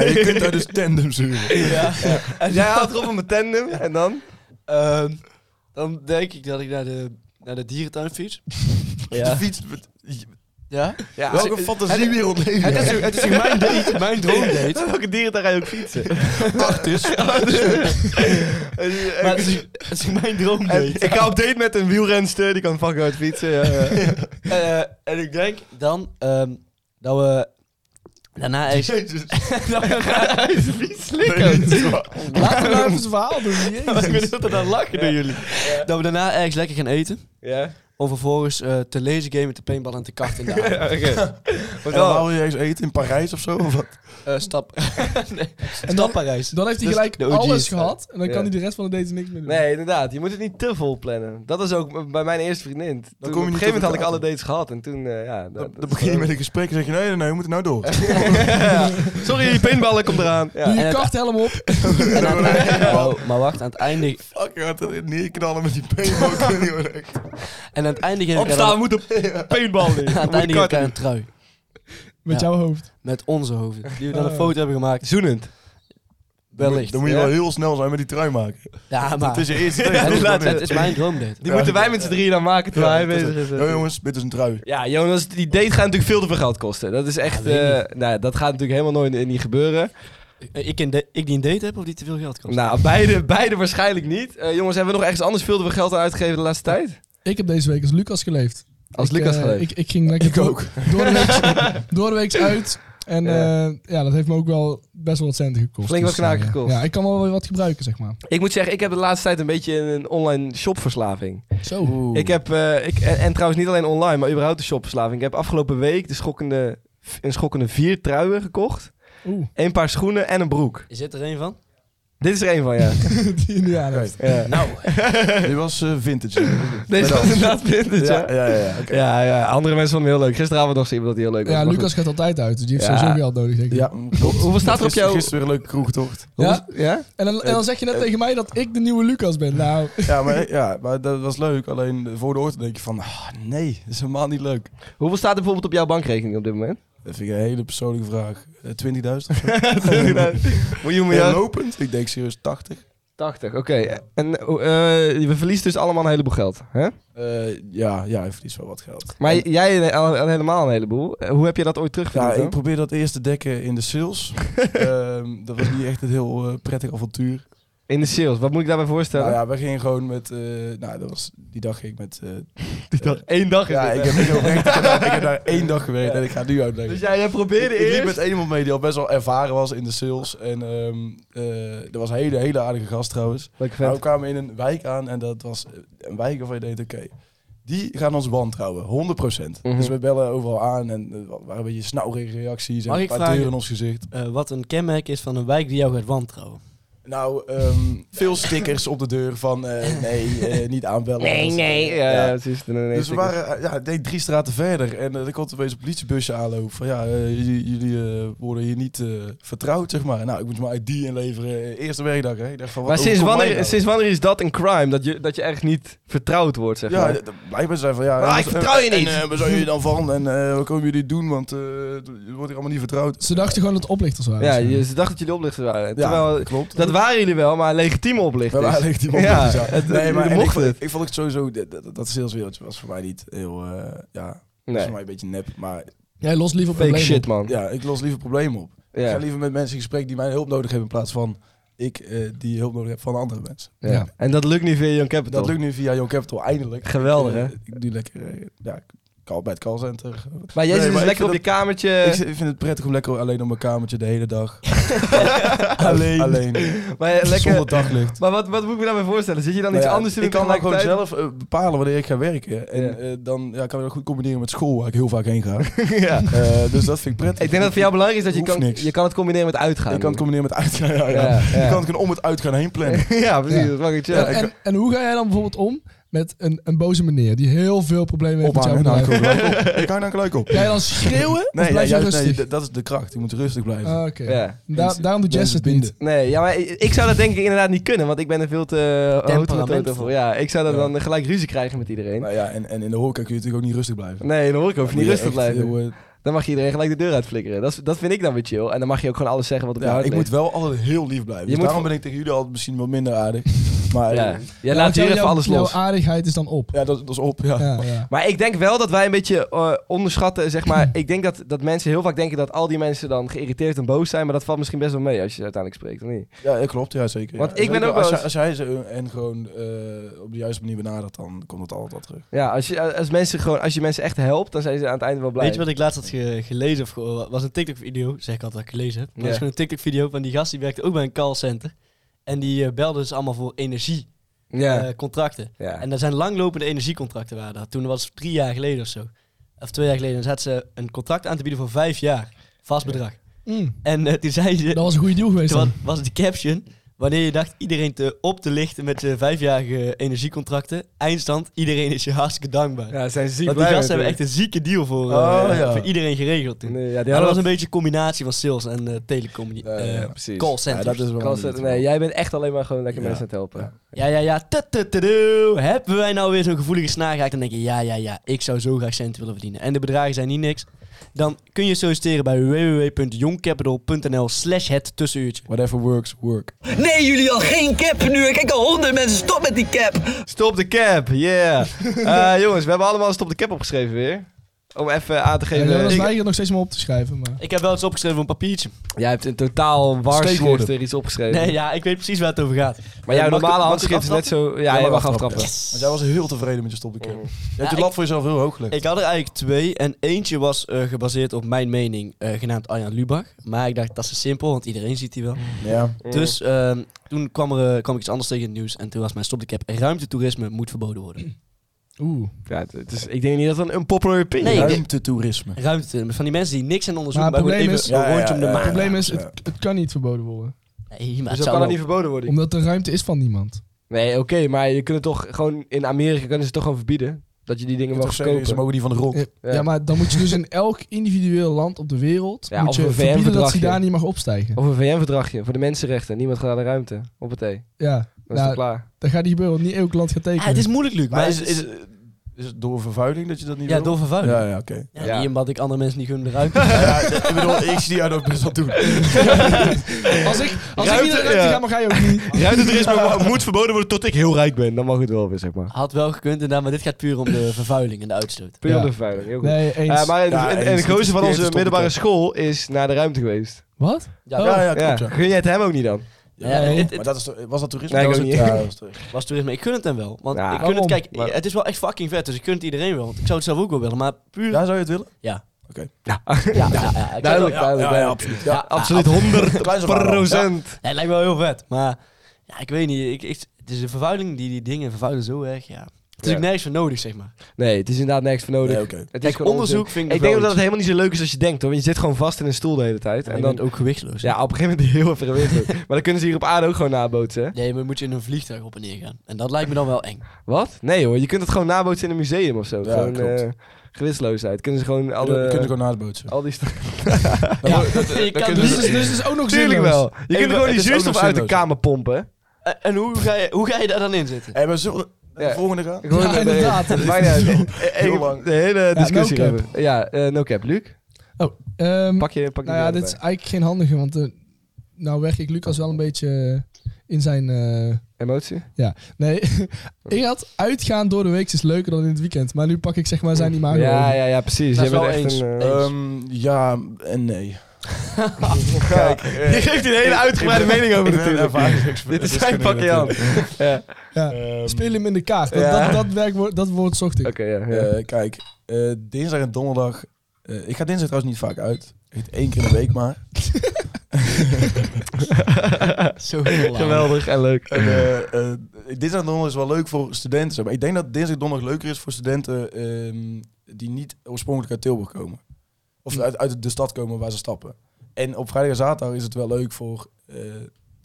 E: je kunt daar dus tandem zuren.
D: ja.
B: En jij haalt erop op mijn tandem en dan?
D: Ehm, dan denk ik dat ik naar de, naar de dierentuin fiets.
E: De
D: ja.
E: fiets. met-
D: ja.
B: Ja.
E: Welke fantasiewereld leven
D: Het, is,
E: jij?
D: het is mijn date, mijn droomdate.
B: Welke dieren daar ga je ook fietsen?
D: Maar het is, het is mijn
B: En
D: droomdate.
B: ik ga op date met een wielrenster, die kan fucking hard fietsen. Ja, ja.
D: Eh, en ik denk dan ehm, dat we daarna eens...
E: Jezus.
D: dat we daarna eens
E: Nee, dit is waar.
C: Laten we nou even zijn verhaal doen.
D: Ik ben
C: Jezus.
D: dat aan lachen door jullie. Dat we daarna ergens lekker gaan eten.
B: ja?
D: Om vervolgens eh, te lezen gamen, te paintballen en te karten. in de avond.
B: Oké. Wat
E: En dan
B: dan?
E: haal je eens eten in Parijs of zo? Of wat?
D: Eh, stap. nee,
C: En
D: stap
C: dan-
D: Parijs.
C: Dan heeft hij
D: Dus
C: gelijk
D: de OG's.
C: alles gehad en dan
B: Ja.
C: kan hij de rest van de date niks meer doen.
B: Nee, inderdaad. Je moet het niet te vol plannen. Dat was ook bij mijn eerste vriendin. Toen,
E: kom
B: op
E: je
B: een
E: niet
B: gegeven moment
E: tot
B: had ik
E: elkaar.
B: alle dates gehad. En toen, eh, ja... dat-
E: Dan, dan begin je met een gesprek en zeg je: nee, nee, nee, we moeten nou door.
B: Sorry, pinballen komt eraan. Ja.
C: Doe
D: En
C: je
D: het-
C: karthelm op.
D: En aan het einde- Oh, maar wacht, aan het einde...
E: Fuck, je gaat er neerknallen met die peenboot.
D: En aan het einde geef ik haar
B: Opstaan,
D: dan-
B: we moeten paintballen. We
D: aan
B: moeten
D: het einde geef ik haar
B: karten.
D: een trui.
C: Met
D: Ja.
C: jouw hoofd.
D: Met onze hoofden. Die we dan
C: Oh.
D: een foto hebben gemaakt.
B: Zoenend.
D: Wellicht. Ah.
E: Dan moet je
B: Ja.
E: wel heel snel zijn met die trui maken.
D: Ja, maar...
E: Het is je eerste
B: Ja,
D: Het
E: date.
D: is,
B: laat-
D: het is mijn droomdate.
B: Die
E: Ja,
B: moeten wij
E: ja,
B: met z'n drieën dan maken terwijl hij bezig is.
E: Ja, jongens, dit is een trui.
B: Ja, Jonas, die date gaat natuurlijk veel te veel geld kosten. Dat is echt.
D: weet ik
B: eh, nou, dat gaat natuurlijk helemaal nooit niet gebeuren.
D: Eh, Ik, een da- ik die een date heb of die te veel geld kost?
B: Nou, beide, beide waarschijnlijk niet. Eh, jongens, hebben we nog ergens anders veel te veel geld aan uitgegeven de laatste tijd?
C: Ik heb deze week als Lucas geleefd.
B: Als
C: Ik,
B: Lucas
C: eh,
B: geleefd.
C: Ik, ik ging lekker
E: Ik
C: door-
E: ook.
C: Door de week, door de week uit. En
B: Ja.
C: ja. ja, dat heeft me ook wel best wel wat centen gekost.
B: Flink wat
C: eh,
B: knaken gekost.
C: Ja, ik kan wel weer wat gebruiken, zeg maar.
B: Ik moet zeggen, ik heb de laatste tijd een beetje een online shopverslaving.
C: Zo.
B: Ik heb, eh, ik, en, en trouwens niet alleen online, maar überhaupt de shopverslaving. Ik heb afgelopen week de schokkende, een schokkende vier truien gekocht.
C: Oeh,
B: Een paar schoenen en een broek.
D: Is dit er een van?
B: Dit is er één van, ja.
C: die Indianen.
E: Right.
B: ja.
D: Nou,
E: Dit was eh, vintage.
B: Deze was inderdaad vintage, ja.
E: Ja, ja, ja. oké.
B: Ja, ja, andere mensen vonden hem heel leuk. Gisteravond nog zo iemand dat hij heel leuk was.
C: Ja,
B: maar goed.
C: Lucas gaat altijd uit, dus die heeft
B: Ja.
C: sowieso geld nodig, denk ik.
E: Ja, klopt.
B: Hoeveel staat er op
E: Gisteren-
B: jouw...
E: Gisteren weer een leuke kroegtocht.
C: Ja?
B: Ja?
C: En, dan, en dan zeg je net tegen mij dat ik de nieuwe Lucas ben. Nou,
E: Ja maar, ja, maar dat was leuk. Alleen eh, voor de ochtend denk je van, ah, nee, dat is helemaal niet leuk.
B: Hoeveel staat er bijvoorbeeld op jouw bankrekening op dit moment?
E: Dat vind ik een hele persoonlijke vraag. Eh, 20.000 of zo?
B: Miljoen
E: Ja,
B: miljard?
E: lopend? Ik denk serieus 80.
B: 80, oké. En eh, eh, we verliezen dus allemaal een heleboel geld. Hè?
E: Eh, ja, ja, hij verliest wel wat geld.
B: Maar j- jij al, al helemaal een heleboel. Eh, hoe heb je dat ooit
E: Ja,
B: terugverdiend?
E: ik
B: dan?
E: probeer dat eerst te dekken in de sales. Ehm, dat was niet echt een heel eh, prettig avontuur.
B: In de sales, wat moet ik daarbij voorstellen?
E: Nou ja, wij gingen gewoon met... eh, nou, dat was, die dag ging ik met... eh,
B: Die dag- één dag is
E: ja,
B: dit, hè?
E: ik heb, ik, heb oprecht- ik heb daar, ik heb daar één dag gewerkt en ik ga het nu uitleggen.
B: Dus jij, jij probeerde
E: Ik liep
B: eerst...
E: met één iemand mee die al best wel ervaren was in de sales. En ehm eh, dat was een hele, hele aardige gast trouwens.
B: Leuk vet.
E: Maar we kwamen in een wijk aan en dat was een wijk waarvan je denkt, oké, die gaan ons wantrouwen, 100%.
B: Mhm.
E: Dus we bellen overal aan en eh, waren een beetje snauwige reacties en
D: Mag
E: een
D: ik
E: paar
D: vragen?
E: deuren in ons gezicht.
D: eh, wat een kenmerk is van een wijk die jou gaat wantrouwen.
E: Nou, ehm, veel stickers op de deur van eh, nee, eh, niet aanbellen.
B: Nee,
E: Dus,
B: nee.
E: ja.
B: Ja, ja, precies. Dan ineens
E: Dus we waren eh, ja, ik denk drie straten verder en eh, er komt opeens een politiebusje aanlopen van ja, eh, jullie, jullie eh, worden hier niet eh, vertrouwd, zeg maar. Nou, ik moest mijn ID inleveren, eh, eerste werkdag. Hè. Ik dacht van, wat
B: Maar sinds
E: overkomt mij
B: wanneer,
E: nou?
B: sinds wanneer is dat een crime? Dat je, dat je echt niet vertrouwd wordt, zeg
E: Ja,
B: maar.
E: d- d- blijkbaar zijn van ja.
B: Ah,
E: en-
B: ik vertrouw je
E: en-
B: niet.
E: En, eh, waar zijn jullie dan van? En eh, wat komen jullie doen? Want eh, het wordt hier allemaal niet vertrouwd.
C: Ze dachten gewoon dat het oplichters waren. Dus, eh,
B: Ja,
C: Zo.
B: je ze dacht dat jullie oplichters waren.
E: Ja,
B: Terwijl,
E: klopt.
B: dat waren jullie wel, maar legitieme
E: Wel
B: oplichters.
E: eigenlijk die man.
B: Ja,
E: dus
B: het-
E: nee, maar
B: jullie
E: en ik,
B: mochten
E: vond-
B: het.
E: ik vond het sowieso dat, dat, dat saleswereldje was voor mij niet heel eh, ja, dat was
B: Nee,
E: voor mij een beetje nep, maar
C: Jij lost liever
B: fake
C: problemen.
B: shit, man.
E: ja, ik los liever problemen op.
B: Ja.
E: Ik ga liever met mensen in gesprek die mij hulp nodig hebben in plaats van ik eh, die hulp nodig heb van andere mensen.
B: Ja.
C: Ja.
B: En dat lukt nu via Young Capital.
E: Dat lukt nu via Young Capital eindelijk.
B: Geweldig, hè?
E: Eh, Ik doe lekker eh, ja, call, bij het callcenter.
B: Maar jij
E: Nee,
B: zit dus
E: maar ik
B: lekker
E: vind
B: op je
E: dat-
B: kamertje.
E: ik z- ik vind het prettig om lekker alleen op mijn kamertje de hele dag. alleen. Alleen.
B: Maar ja, lekker...
E: Zonder daglicht.
B: Maar wat, wat moet ik me daarbij voorstellen? Zit je dan
E: Nou
B: iets
E: ja,
B: anders te doen
E: Ik kan dan gewoon
B: tegelijkertijd?
E: zelf eh, bepalen wanneer ik ga werken. En
B: Ja.
E: eh, dan ja, kan ik dat goed combineren met school, waar ik heel vaak heen ga.
B: ja.
E: Eh, dus dat vind ik prettig.
B: Ik denk dat het voor jou belangrijk is dat je
E: Hoeft
B: kan,
E: niks.
B: je kan het combineren met uitgaan.
E: Ik kan het combineren met uitgaan. Ja, ja.
B: Ja, ja.
E: Je kan het gewoon om het uitgaan heen plannen.
B: ja, precies.
C: Ja.
B: Dat mag ik
C: En,
B: chillen.
C: en, en hoe ga jij dan bijvoorbeeld om met een, een boze meneer die heel veel problemen heeft
E: Ophangen,
C: met
E: dan
C: jouw
E: hang ik
C: bedrijf?
E: ook gelijk op. Ik hang dan gelijk op.
C: Ga je dan schreeuwen? of
E: Nee, ja,
C: blijf je
E: juist, nee,
C: rustig?
E: d- dat is de kracht. Je moet rustig blijven.
C: Ah, Oké.
B: Ja.
C: Da-
E: Mensen-
C: daarom doet Jess
E: mensen
C: het niet.
B: Nee, ja, maar ik, ik zou dat denk ik inderdaad niet kunnen, want ik ben er veel te eh, houten voor. Ja, ik zou dan,
E: Ja.
B: dan gelijk ruzie krijgen met iedereen.
E: Nou ja, en, en in de horeca kun je natuurlijk ook niet rustig blijven.
B: Nee, dan hoor ik over niet
E: Dan moet je
B: rustig
E: echt
B: blijven.
E: heel, eh,
B: Dan mag je iedereen gelijk de deur uitflikkeren. Dat, is- dat vind ik dan weer chill. En dan mag je ook gewoon alles zeggen wat op je
E: ja,
B: hart
E: ik moet
B: ligt.
E: wel altijd heel lief blijven.
B: Je
E: Dus
B: moet
E: daarom
B: wel-
E: ben ik tegen jullie altijd misschien wat minder aardig. Maar
B: Ja.
E: ja,
B: Jij
C: Ja,
B: laat hier
C: jouw-
B: even alles los.
C: Jouw aardigheid is dan op.
E: ja dat, dat is op. Ja.
C: Ja, ja.
B: Maar ik denk wel dat wij een beetje eh, onderschatten, zeg maar. ik denk dat, dat mensen heel vaak denken dat al die mensen dan geïrriteerd en boos zijn. Maar dat valt misschien best wel mee als je ze uiteindelijk spreekt, of niet?
E: Ja, dat klopt, ja, zeker.
B: Want
E: ja.
B: ik ben
E: Zeker
B: ook
E: als,
B: wel
E: hij- als hij ze en gewoon eh, op de juiste manier benadert, dan komt het altijd wel terug.
B: Ja, als je, eh, als mensen gewoon, als je mensen echt helpt, dan zijn ze aan het einde wel blij.
D: Weet je wat ik laatst had ge- gelezen? Of ge- was een TikTok-video, zeg ik altijd dat ik gelezen heb. Maar
B: Ja.
D: dat is gewoon een TikTok-video van die gast die werkte ook bij een callcenter. En die eh, belde dus allemaal voor energiecontracten.
B: Ja. ja.
D: Eh, En daar zijn langlopende energiecontracten waren dat. Toen was het drie jaar geleden of zo. Of twee jaar geleden. Dan zaten ze een contract aan te bieden voor vijf jaar. Vast bedrag.
C: Mm,
D: En eh, toen zei ze...
C: dat was een goede deal geweest
D: Toen
C: dan.
D: wa- was de caption. Wanneer je dacht iedereen te op te lichten met zijn vijfjarige energiecontracten. Eindstand, iedereen is je hartstikke dankbaar.
B: Ja, zijn ze ziek
D: Want die
B: blij
D: gasten hebben
B: natuurlijk.
D: echt een zieke deal voor, eh,
E: Oh, ja.
D: voor iedereen geregeld toen.
B: Nee, ja, die
D: Maar dat was een
B: hadden
D: beetje een combinatie van sales en eh telecommunie.
E: Ja,
D: eh,
E: ja,
B: precies.
E: Ja,
D: Callcenters.
E: dat is wel
B: Kan ze-
E: niet.
B: nee, jij bent echt alleen maar gewoon lekker
E: Ja.
B: mensen aan het helpen.
D: Ja, ja, ja. Tututudu. Hebben wij nou weer zo'n gevoelige snaar geraakt? Dan denk je, ja, ja, ja. Ik zou zo graag centen willen verdienen. En de bedragen zijn niet niks. Dan kun je solliciteren bij www.youngcapital.nl slash het tussenuurtje.
E: Whatever works, work.
H: Nee, jullie al geen cap nu. Ik kijk al honderd mensen. Stop met die cap.
B: Stop de cap, yeah. Eh, jongens, we hebben allemaal stop de cap opgeschreven weer. Om even aan te
C: Ja,
B: geven.
C: Jonas
B: Ik-
C: weigert nog steeds maar op te schrijven. Maar.
D: Ik heb wel iets opgeschreven op een papiertje.
B: jij hebt een totaal warschrift er iets opgeschreven.
D: Nee, ja, ik weet precies waar het over gaat.
B: Maar jouw
D: Mag ik-
B: normale
D: mag ik
B: handschrift is net zo... Ja,
E: Ja,
B: jij mag
E: mag
B: aftrappen.
E: Want jij was heel tevreden met je stop de cap. Je hebt
D: Ja,
E: je lat voor jezelf heel hoog gelegd.
D: Ik had er eigenlijk twee. En eentje was eh, gebaseerd op mijn mening, eh, genaamd Arjan Lubach. Maar ik dacht, dat is te simpel, want iedereen ziet die wel.
E: Ja.
D: Dus ehm, toen kwam, er, eh, kwam ik iets anders tegen in het nieuws. En toen was mijn stop de cap. Ruimtetoerisme moet verboden worden.
C: Oeh.
B: Ja, het- het is, ik denk niet dat het een unpopular opinion
D: Nee,
B: is. Dus
D: ik-
E: Ruimtetoerisme.
D: Ruimtetoerisme. Van die mensen die niks aan onderzoek
C: Maar
D: maar,
C: het
D: gewoon even
C: probleem
E: is-
D: een rondje om de
E: Ja,
C: Het
D: maan.
C: probleem is,
E: ja.
C: het, het kan niet verboden worden.
D: Nee, maar
B: Dus
D: het
B: dat
D: zou
B: kan
D: wel-
B: dan niet verboden worden.
C: Omdat de ruimte is van niemand.
B: Nee, oké, maar je kunt het toch gewoon... In Amerika kunnen ze het toch gewoon verbieden? Dat je die dingen mag
E: Toch zeggen, Ze
B: kopen.
E: mogen die van de grond.
C: Ja, ja, maar dan moet je dus in elk individueel land op de wereld
B: Ja,
C: moet
B: of
C: je
B: een
C: verbieden dat
B: VN-verdragje.
C: hij daar niet mag opstijgen.
B: Of een VN-verdragje voor de mensenrechten. Niemand gaat naar de ruimte. Op het thee.
C: Ja,
B: Dan is het
C: nou,
B: klaar.
C: dat gaat niet gebeuren. want Niet elk land gaat tekenen.
D: Ah, het is moeilijk, Luc.
E: Maar is, is, is het door vervuiling dat je dat niet
D: ja,
E: wil?
D: door vervuiling.
E: Ja,
D: Ja,
E: ja, oké.
B: Ja.
D: Niet omdat ik andere mensen niet gun de ruimte.
E: Ja, ik bedoel, ik zie jou dat best wel doen.
C: als ik, als
B: Ruimte,
C: ik niet naar de ruimte
B: ja.
C: ga, mag jij ook niet.
B: Ruimtetoerisme moet verboden worden tot ik heel rijk ben. Dan mag het wel weer, zeg maar.
D: Had wel gekund, inderdaad, maar dit gaat puur om de vervuiling en de uitstoot.
B: Puur
C: Ja.
B: om de vervuiling. Heel goed.
C: Nee, eens.
B: Eh, maar
E: Ja,
B: en,
E: eens.
B: en de gozer van
E: Die heeft
B: onze
E: een
B: middelbare
E: stopcontact.
B: school is naar de ruimte geweest.
C: Wat?
D: Ja,
E: Ja, ja,
B: Ja.
E: klopt, ja.
B: Gun jij het hem ook niet dan?
D: Ja,
C: Nee.
D: het- het-
E: Maar dat is, toch- was dat toerisme?
B: Nee, ik
E: dat
B: ook
E: was
B: niet.
E: het- ja, dat was toerisme.
D: was toerisme. Ik gun het hem wel. Want
B: Ja.
D: ik gun het,
C: Waarom?
D: kijk,
B: Maar-
D: het is wel echt fucking vet. Dus ik gun het iedereen wel. Want ik zou het zelf ook wel willen. Maar puur...
E: Ja, zou je het willen?
B: Ja,
D: ja, ja, ja. Ik zou
B: duidelijk,
D: het wel-
B: duidelijk.
E: ja, ja,
B: duidelijk.
E: absoluut.
D: Ja,
E: Ja.
B: absoluut 100 procent.
D: Nee, het lijkt me wel heel vet. Maar ja, ik weet niet. Ik, ik- het is de vervuiling. Die, die dingen vervuilen zo erg. Ja. Het is ook nergens voor nodig, zeg maar.
B: Nee, het is inderdaad niks voor nodig.
E: Nee, oké.
B: Het is
D: Kijk,
B: gewoon
D: onderzoek
B: onzin.
D: vind ik
B: Ik
D: nog
B: denk
D: wel
B: dat het helemaal niet zo leuk is als je denkt, hoor. Want je zit gewoon vast in een stoel de hele tijd.
D: En
B: en
D: dan
B: dan,
D: ook gewichtloos.
B: ja, op een gegeven moment heel veel gewicht. maar dan kunnen ze hier op aarde ook gewoon nabootsen, hè?
D: Nee, maar dan moet je in een vliegtuig op en neer gaan. En dat lijkt me dan wel eng.
B: Wat? Nee, hoor. Je kunt het gewoon nabootsen in een museum of zo.
E: Ja,
B: gewoon
E: klopt.
B: eh, gewichtsloosheid. Kunnen ze gewoon alle...
E: Kunnen we gewoon naadbootsen.
B: Al die sta-
D: Ja, je kan
E: kunnen
C: Dus
D: dus-
C: het is, dus het is ook nog
B: Tuurlijk
C: zinloos.
B: wel. Je
E: Hey,
B: kunt
E: maar
B: gewoon
E: het
B: die
E: is ook
B: zuurstof
E: nog
B: uit de
E: zinloos.
B: kamer pompen.
D: En- En hoe ga, je, hoe ga je daar dan in zitten?
E: Hé, maar zullen we
B: Ja.
E: de volgende gaan?
B: Gewoon
C: Ja,
B: eh,
C: inderdaad.
B: eh, maakt niet uit. Eh,
E: Heel
B: eh,
E: lang.
B: De hele discussie
C: no cap.
B: hebben. Ja, eh, no cap. Luc,
C: Ehm,
B: pak je pak je
C: nou ja,
B: erbij.
C: dit is eigenlijk geen handige, want eh, nou werk ik Lucas wel een beetje eh, in zijn... eh,
B: Emotie?
C: nee, ik had uitgaan door de week is leuker dan in het weekend. Maar nu pak ik zeg maar zijn imago
B: Ja,
C: over.
B: ja, ja, precies.
D: Dat
B: Je
D: is
B: bent
D: wel
B: echt
D: eens.
B: een... eh,
E: Ehm, ja en nee. Kijk, eh,
B: Je geeft hier een hele
E: ik-
B: uitgebreide
E: ik ben-
B: mening over
E: ik ben een
B: natuurlijk.
E: ervaringsdeskundige
B: Dit is zijn pakje aan.
E: natuurlijk.
B: Ja.
C: Ja.
E: Ehm,
C: Speel hem in de kaart. Dat,
B: Ja.
C: dat, dat, werkwoord, dat woord zocht ik.
B: Oké, ja, ja.
E: eh, kijk, eh, dinsdag en donderdag. eh, ik ga dinsdag trouwens niet vaak uit. Echt één keer in de week maar.
D: Zo
B: Eh,
D: heel lang.
B: Geweldig en leuk.
E: En, eh, eh, dinsdag en donderdag is wel leuk voor studenten. zeg Maar ik denk dat dinsdag en donderdag leuker is voor studenten ehm, die niet oorspronkelijk uit Tilburg komen. Of
B: Hm.
E: uit, uit de stad komen waar ze stappen. En op vrijdag en zaterdag is het wel leuk voor eh,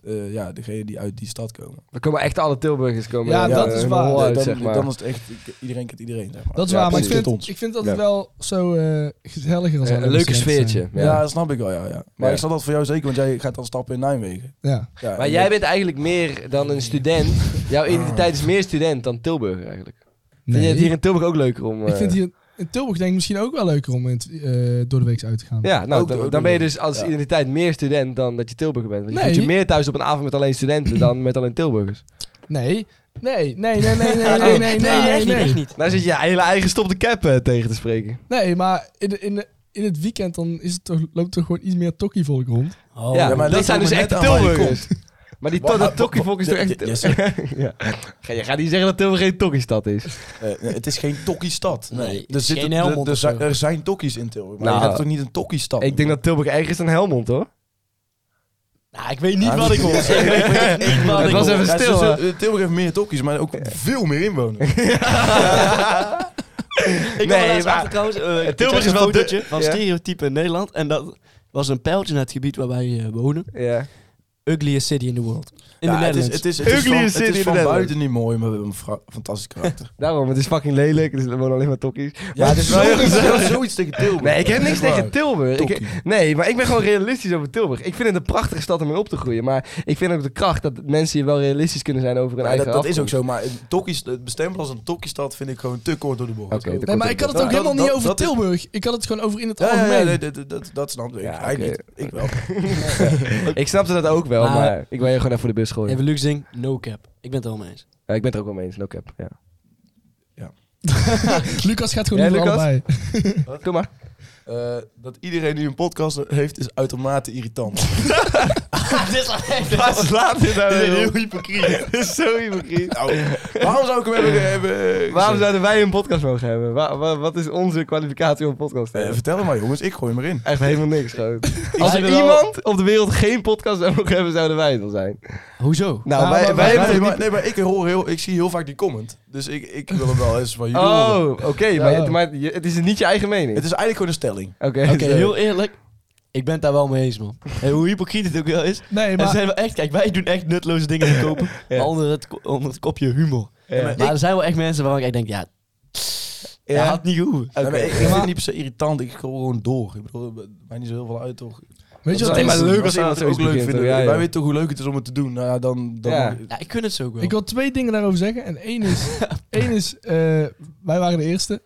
E: eh, ja, degenen die uit die stad komen.
B: Er komen echt alle Tilburgers komen.
C: Ja,
B: er,
C: dat
B: eh,
C: is waar.
B: hol
E: Ja,
B: uit,
E: dan,
B: zeg maar.
E: dan is het echt ik- iedereen kent iedereen. Zeg maar.
C: Dat is
B: Ja,
C: waar, maar ik
B: precies.
C: vind,
E: Ons.
C: ik vind het altijd
B: Ja.
C: wel zo eh, gezelliger als
B: Eh,
C: alleen
B: een leuke
C: studenten zijn.
B: sfeertje.
E: Ja.
B: Ja.
E: dat snap ik wel, ja. ja. Maar
B: Ja.
E: ik snap dat voor jou zeker, want jij gaat dan stappen in Nijmegen.
C: Ja.
E: Ja,
B: Maar
E: en
B: jij
E: dat-
B: bent eigenlijk meer dan een student. Jouw identiteit is meer student dan Tilburger eigenlijk. Vind je het hier in Tilburg ook leuker om...
C: Ik
B: eh,
C: vind hier in Tilburg denk ik misschien ook wel leuker om in het, eh, door de week uit te gaan.
B: Ja, nou,
E: Ook-
B: dan,
E: ook
B: dan ben je
E: leuk.
B: dus als
E: Ja.
B: identiteit meer student dan dat je Tilburger bent. Want je
C: Nee.
B: voelt je meer thuis op een avond met alleen studenten dan met alleen Tilburgers.
C: Nee. Nee, nee, nee, nee, nee, nee, nee, nee,
D: echt niet,
C: nee.
D: echt
C: Nee,
D: niet.
B: Nou zit je je hele eigen stop de cap eh, tegen te spreken.
C: nee maar in, de- in, de- in het weekend dan is het toch, loopt er gewoon iets meer tokkievolk rond.
D: Oh.
B: ja, maar
E: maar dat
B: dat
E: ligt
B: zijn
E: er
B: dus
E: maar
B: echt
E: net aan waar je
B: Tilburgers. Maar die to-
E: Wa- wa-
B: dat tokkievolk is
E: wa-
B: toch echt...
E: ja,
B: ja. Ga- Je gaat niet zeggen dat Tilburg geen tokkiestad is.
E: Eh, nee, het is geen tokkie-stad.
D: Nee, het
E: er,
D: is
E: zitten-
D: geen
E: er-
D: Helmond
E: er,
D: of
E: zijn,
D: zo.
E: er zijn tokkies in Tilburg, maar
B: Nou,
E: je gaat toch niet een tokkie-stad
B: Ik denk dat Tilburg erger is dan Helmond, hoor.
D: Nou, ik weet niet
E: Ja,
D: wat ik hoor. Ik weet niet wat
B: Het
D: ik
B: was
D: hoor.
B: even
E: Ja,
B: stil,
E: ze-
B: hè?
E: ze- Tilburg heeft meer tokkies, maar ook veel meer inwoners.
D: Ik
B: Nee,
D: nee, laatst
B: maar-
D: achter trouwens. eh, ik
B: Tilburg is
D: zag een
B: wel de-
D: fotootje van
B: Ja.
D: stereotypen in Nederland. En dat was een pijltje naar het gebied waar wij eh, wonen.
B: Ja.
D: Ugliest city in the world. In
E: Ja,
D: de
E: het is,
D: Netherlands.
E: het is, het is
B: Ugliest
E: van, het
B: city in
E: is
B: the
E: van
B: Netherlands.
E: buiten niet mooi, maar we hebben een fra- fantastisch karakter.
B: Daarom, het is fucking lelijk. dus Er wonen alleen maar tokkies.
E: ja,
B: het is wel heel
E: zoiets,
B: gezellig.
E: zoiets tegen Tilburg.
B: Nee, ik heb niks
E: Echt waar.
B: tegen Tilburg. Ik-
E: Tokkie.
B: nee, maar ik ben gewoon realistisch over Tilburg. Ik vind het een prachtige stad om in op te groeien. Maar ik vind ook de kracht dat mensen hier wel realistisch kunnen zijn over hun
E: Ja,
B: eigen
E: dat, dat is ook
B: afkomst.
E: zo, maar een tokkies, het bestempelen als een tokkie-stad vind ik gewoon te kort door de bocht.
B: Oké, te
C: Nee,
B: kort
C: maar
B: op
C: ik had het
E: dat-
C: ook helemaal
E: dat-
C: niet
E: dat-
C: over
E: dat is-
C: Tilburg. Ik had het gewoon over in het
E: Ja, ja, ja,
C: algemeen.
E: nee, dat, dat, dat snap ik.
B: Ja,
E: Hij
B: oké.
E: niet, ik wel.
B: Ik snapte dat ook wel,
D: Maar-
B: maar ik wil je gewoon even voor de bus gooien.
D: Even luxe ding, no cap. Ik ben het er allemaal eens.
B: Ja, ik ben het er ook wel mee eens, no cap. Ja.
C: Lucas gaat gewoon
B: Jij,
C: niet voor
B: Lucas?
C: allebei.
B: Doe maar.
E: Eh, dat iedereen die een podcast heeft, is uitermate irritant.
D: dit is echt
B: Waar slaat dit nou
E: weer op?
B: hypocriet. Dit is zo hypocriet.
E: nou, waarom zou ik hem hebben? hebben Eh,
B: Waarom zouden wij een podcast mogen hebben? Wa- wa- wat is onze kwalificatie om een podcast te
E: Eh,
B: hebben?
E: vertel het maar jongens, ik gooi hem erin.
B: Echt helemaal niks gewoon. Als
D: vind
B: er
D: het wel-
B: iemand op de wereld geen podcast zou mogen hebben, zouden wij het wel zijn.
D: Hoezo?
B: Nou,
C: Ja,
B: wij,
C: maar-
B: wij
E: Nee,
B: hebben
E: maar,
B: toch niet...
E: nee, maar ik, hoor heel, ik zie heel vaak die comment. Dus ik, ik wil hem wel eens van jullie horen.
B: Oh, oké, maar,
C: Ja.
B: het, maar je- het is niet je eigen mening.
E: Het is eigenlijk gewoon een stelling.
B: Oké,
D: Oké,
B: zo.
D: heel eerlijk. Ik ben het daar wel mee eens, man. En hoe hypocriet het ook wel is.
C: Nee,
D: Er
C: maar...
D: zijn wel echt, kijk, wij doen echt nutteloze dingen te kopen.
B: Ja.
D: maar onder, het, ko- onder het kopje humor.
B: Ja.
D: Maar er zijn wel echt mensen waarvan ik echt denk, ja,
B: Ja.
D: dat had niet gehoeven.
E: Nee, maar
B: Oké.
E: ik, ik vind het niet per se irritant, ik scroll gewoon door. Ik bedoel, het maakt niet zo heel veel uit toch.
C: Weet je
E: Dat
C: wat
B: is
C: het
B: alleen
C: is?
B: maar leuk als iemand
E: als iemand het ook
B: zoiets
E: leuk
B: begint,
E: vindt.
B: hoor. Ja, ja.
E: Wij weten toch hoe leuk het is om het te doen. Nou ja, dan... dan
B: Ja.
D: Ja, ik kun het zo ook wel.
C: Ik wil twee dingen daarover zeggen. En één is... één is eh, wij waren de eerste.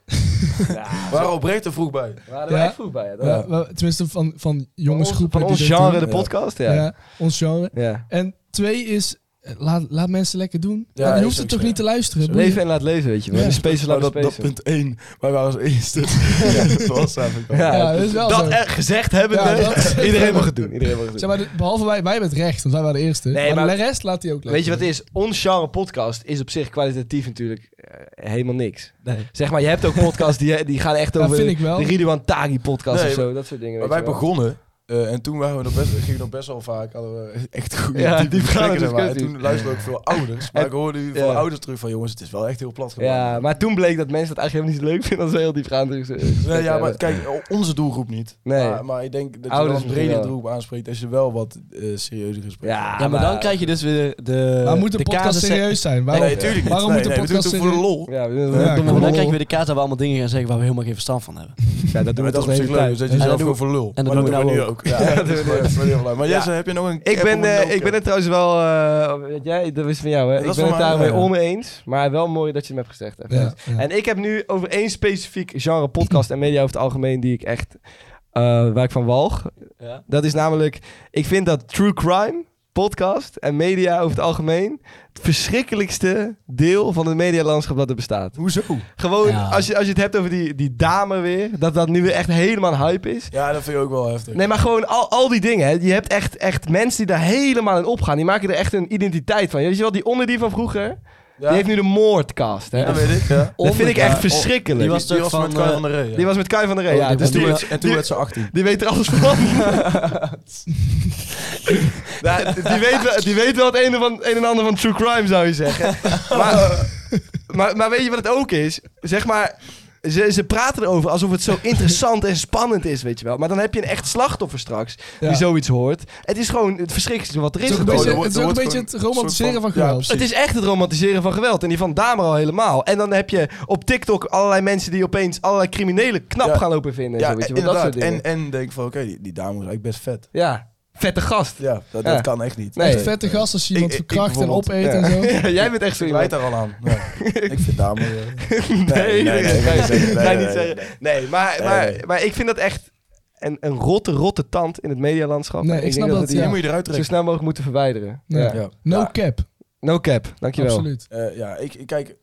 E: We waren oprecht er vroeg bij.
B: Waar hadden
C: Ja.
B: wij echt vroeg bij? hè? Dat-
C: Ja, wel, tenminste, van, van jongensgroepen.
B: Van ons
C: die dat
B: genre,
C: doen.
B: de
E: Ja.
B: podcast,
C: Ja.
B: ja. Ja.
C: ons genre. En twee is, eh, laat, laat mensen lekker doen.
E: Ja,
C: Ja, je
E: is
C: hoeft het
E: ook
C: toch
E: zo,
C: niet
E: ja.
C: te luisteren. boeien.
B: Leven en laat leven, weet je wel.
C: Ja.
B: De space
E: Maar
B: laat
E: Oh, dat, dat
B: space.
E: punt 1, wij waren als eerste. ja, dat was eigenlijk wel.
B: Ja.
C: Ja, dat is wel zo.
B: Dat echt gezegd hebbende,
C: Ja, dat-
B: iedereen mag het doen. Iedereen mag het doen.
C: Zeg maar, de- behalve wij, wij hebben het recht, want wij waren de eerste.
B: Nee,
C: maar,
B: maar-
C: de rest laat hij ook lekker.
B: Weet je wat het is? Ons genre podcast is op zich kwalitatief natuurlijk eh, helemaal niks.
D: Nee.
B: Zeg maar, je hebt ook podcasts die, die gaan echt
C: Ja,
B: over
C: vind ik wel.
B: de Ridouan Tagi podcast
E: Nee,
B: of zo. Dat soort dingen.
E: Maar
B: weet
E: wij
B: je wel.
E: begonnen Eh, en toen waren we nog best, gingen we nog best wel vaak. Hadden we echt goede
B: Ja, dus
E: ja,
B: diepgaande
E: En
B: discussies.
E: toen luisterden ook veel ouders. Maar ik hoorde nu
B: ja.
E: veel ouders terug van... Jongens, het is wel echt heel plat geworden.
B: Ja, maar toen bleek dat mensen het eigenlijk helemaal niet zo leuk vinden als we heel diepgaand dus,
E: Nee, eh, ja, maar kijk, o- onze doelgroep niet.
B: Nee.
E: Maar, maar ik denk dat je
B: Ouders
E: wel een
B: misschien
E: bredere
B: wel.
E: doelgroep aanspreekt als je wel wat eh serieuzer gesprekken
B: Ja,
D: Ja, maar dan krijg je dus weer de.
C: Maar moet de podcast
D: casussen-
C: serieus zijn?
E: Eh, Nee,
C: Waarom,
E: nee, tuurlijk niet.
C: waarom
E: nee,
C: moet de
E: nee, we doen
C: podcast
E: het voor de
C: serieus-
E: lol.
B: Ja, we- we-
C: Ja,
B: domme
C: cool.
D: Maar
B: lol.
D: dan krijg je weer de kaart waar we allemaal dingen gaan zeggen waar we helemaal geen verstand van hebben.
B: Ja, dat doen we
E: Maar dat
B: toch
E: is
B: de
E: op zich
B: hele
E: leuk.
B: tijd.
E: Dus dat je zelf
D: doen
E: gewoon
D: we-
E: voor de lul.
D: en dat
E: Maar
D: doen we nou
E: nu
D: ook.
E: ook. Ja, dat is leuk. Dat is heel leuk. Maar Jesse, heb je nog een
B: Ik
E: cap
B: ben,
E: of een
B: eh,
E: no
B: ik ben
E: cap?
B: het trouwens wel, eh, weet jij, dat is van jou hè.
E: Dat
B: Ik
E: is
B: ben
E: van
B: het
E: mij,
B: daarmee
E: ja.
B: oneens, maar wel mooi dat je hem hebt gezegd. even.
C: Ja, ja.
B: En ik heb nu over één specifiek genre podcast en media over het algemeen die ik echt, eh, waar ik van walg.
D: Ja.
B: Dat is namelijk, ik vind dat true crime, podcast en media over het algemeen het verschrikkelijkste deel van het medialandschap dat er bestaat.
E: Hoezo?
B: Gewoon,
D: Ja.
B: als, je, als je het hebt over die, die dame weer, dat dat nu weer echt helemaal een hype is.
E: Ja, dat vind ik ook wel heftig.
B: Nee, maar gewoon al, al die dingen. Hè. Je hebt echt, echt mensen die daar helemaal in opgaan. Die maken er echt een identiteit van. Weet je wel, die onderdie van vroeger, die
E: Ja,
B: heeft nu de moordcast. Hè.
E: dat weet ik. Ja.
B: dat vind ik
D: Ja,
B: echt
D: on-
B: verschrikkelijk.
D: die
B: Die
D: was
B: was,
D: toch
E: Die was
D: van,
E: met Kai
D: eh,
E: van der Rey. ja.
B: met Kai van der Rey,
D: Oh,
B: ja.
D: die-
B: Dus
E: En toen
B: die,
E: werd- En toen
B: die-
E: werd ze 18.
B: die weet er alles van. Nou, die, weet wel, die weet wel het een, van, een en ander van true crime, zou je zeggen. Maar, maar, maar weet je wat het ook is? Zeg maar, ze, ze praten erover alsof het zo interessant en spannend is, weet je wel. Maar dan heb je een echt slachtoffer straks die
C: Ja.
B: zoiets hoort. Het is gewoon het verschrikkelijkste wat er
C: Het
B: is.
C: is ook een
E: Oh,
C: beetje,
E: er
C: het,
E: wordt-
C: is ook
E: er
C: een
E: wordt
C: beetje het
E: gewoon
C: romantiseren
E: een
C: van
E: soort van-
C: geweld.
E: ja,
B: Het is echt het romantiseren van geweld. En die van Damer al helemaal. En dan heb je op TikTok allerlei mensen die opeens allerlei criminelen knap
E: Ja.
B: gaan lopen vinden. en
E: Ja, eh,
B: zo, weet je, wel. dat soort
E: inderdaad.
B: dingen.
E: En, en denk van, oké, die, die dame is eigenlijk best vet.
B: Ja, vette gast.
E: Ja, dat,
B: Ja.
E: dat kan echt niet.
B: Nee.
C: Echt vette gast als je iemand
E: Ik- ik- ik
C: verkracht en
E: bijvoorbeeld.
C: opeet en zo.
B: Jij bent echt zo
E: Ik
B: iemand.
E: wijt daar al aan. Ja. ik vind dame... eh,
B: Nee, nee,
E: Nee, nee,
B: nee,
E: nee,
B: nee,
E: nee, nee,
B: nee,
E: nee,
B: niet
E: nee,
B: zeggen. Nee, maar,
E: Nee,
B: maar,
E: nee.
B: maar ik vind dat echt een, een rotte, rotte tand in het medialandschap.
C: Nee,
B: En
C: ik snap
B: denk
C: dat,
B: we die
E: Die
C: ja.
E: moet je eruit
B: zo
E: trekken.
B: snel mogelijk moeten verwijderen.
C: Nee.
B: Ja.
E: Ja.
C: No
E: Ja.
C: cap,
B: No cap, dankjewel.
C: absoluut.
E: Eh, ja, ik, ik kijk.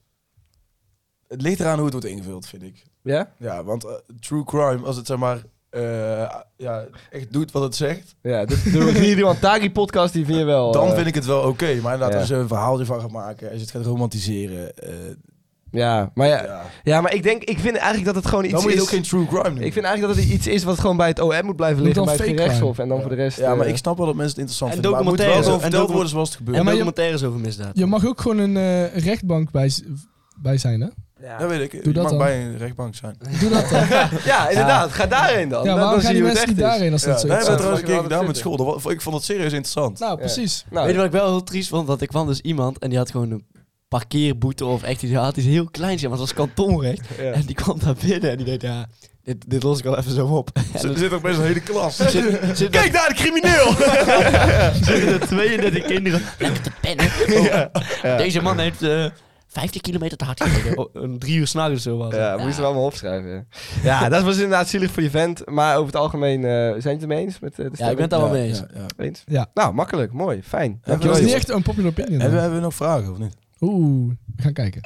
E: Het ligt eraan hoe het wordt ingevuld, vind ik.
B: Ja?
E: Ja, want eh, true crime, als het zeg maar eh, ja, echt doet wat het zegt,
B: Ja, de, de Review Tagi podcast, die vind je wel...
E: dan
B: eh,
E: vind ik het wel oké. Maar inderdaad,
B: ja.
E: als je een verhaal ervan gaat maken, als je het gaat romantiseren, eh,
B: Ja, maar ja,
E: ja,
B: ja, maar ik denk, ik vind eigenlijk dat het gewoon
E: dan
B: iets
E: moet je
B: is...
E: het ook geen true crime noemen.
B: Ik vind eigenlijk dat het iets is wat gewoon bij het OM moet blijven
C: Moet
B: liggen, bij
C: dan
B: het
C: fake
B: gerechtshof. En dan
E: Ja.
B: voor de rest...
E: ja, maar
B: eh,
E: ik snap wel dat mensen het interessant
D: En
E: vinden. Maar het moet wel
D: documentaires
E: gewoon
D: ook. En
E: verteld
D: docu-
E: worden zoals het
D: En
E: gebeurt.
C: maar je-
D: documentaires over misdaad.
C: Je mag ook gewoon een eh, rechtbank bij, z- bij zijn,
E: Oh,
C: hè?
B: ja.
E: Dat weet ik.
C: Doe
E: je
C: dat
E: mag
C: dan.
E: bij een rechtbank zijn.
C: Doe dat dan. Ja,
B: Ja, inderdaad. Ga daarheen dan. dan,
C: waarom
B: dan
C: gaan
B: zie
C: die
B: je hoe het
C: mensen
B: echt
C: niet
B: is.
C: daarheen als
E: Ja,
C: dat
E: wij
C: zo is?
E: hebben het
B: zou-
E: trouwens een keer
B: zou-
E: gedaan met
B: zou-
E: school. Dat wa- Ik vond het serieus interessant.
C: Nou, precies.
B: Nou,
D: Weet je wat ik wel heel triest vond? Dat ik kwam dus iemand en die had gewoon een parkeerboete of echt iets. Hij had iets heel kleins, ja, want het was kantonrecht.
B: ja.
D: En die kwam daar binnen en die deed, ja, dit, dit los ik wel even zo op. En
E: Er
D: er
E: zit ook best een hele klas.
D: zit, zit
B: Kijk daar, de crimineel!
D: zitten er 32 kinderen lekker te pennen. Oh, Deze man heeft eh 15 kilometer te hard gereden. Oh, Een drie uur s'nachts of zo was het.
B: Ja, moesten we allemaal opschrijven. Ja, dat was inderdaad zielig voor die vent. Maar over het algemeen eh, zijn je het ermee eens met eh, de
D: Ja, ik ben
B: stelling?
D: het allemaal mee eens.
E: Ja, ja.
B: Eens?
C: Ja.
B: Nou, makkelijk. Mooi. Fijn.
C: Dat
B: Dankjewel.
C: is niet
B: jongens.
C: echt een popular opinion.
E: Hebben,
C: hè?
E: hebben we nog vragen of niet?
C: Oeh, we gaan kijken.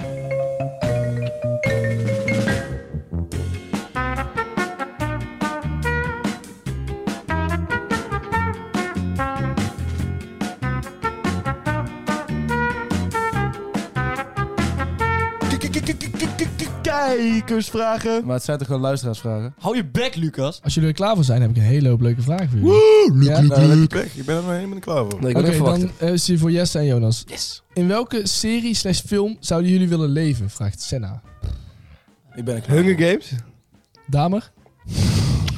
B: Kijkersvragen.
E: Maar het zijn toch gewoon luisteraarsvragen?
D: Hou je bek, Lucas.
C: Als jullie er klaar voor zijn, heb ik een hele hoop leuke vragen voor jullie. Ja?
E: Nou, dan heb je pech. Ik ben er nog helemaal niet klaar voor.
B: Nee, ik
C: Oké,
B: ben even
C: dan
B: wachten.
C: eh, is die voor Jesse en Jonas.
D: Yes.
C: In welke serie slash film zouden jullie willen leven? Vraagt Senna.
E: Ik ben er klaar
B: Hunger Games?
C: Damer?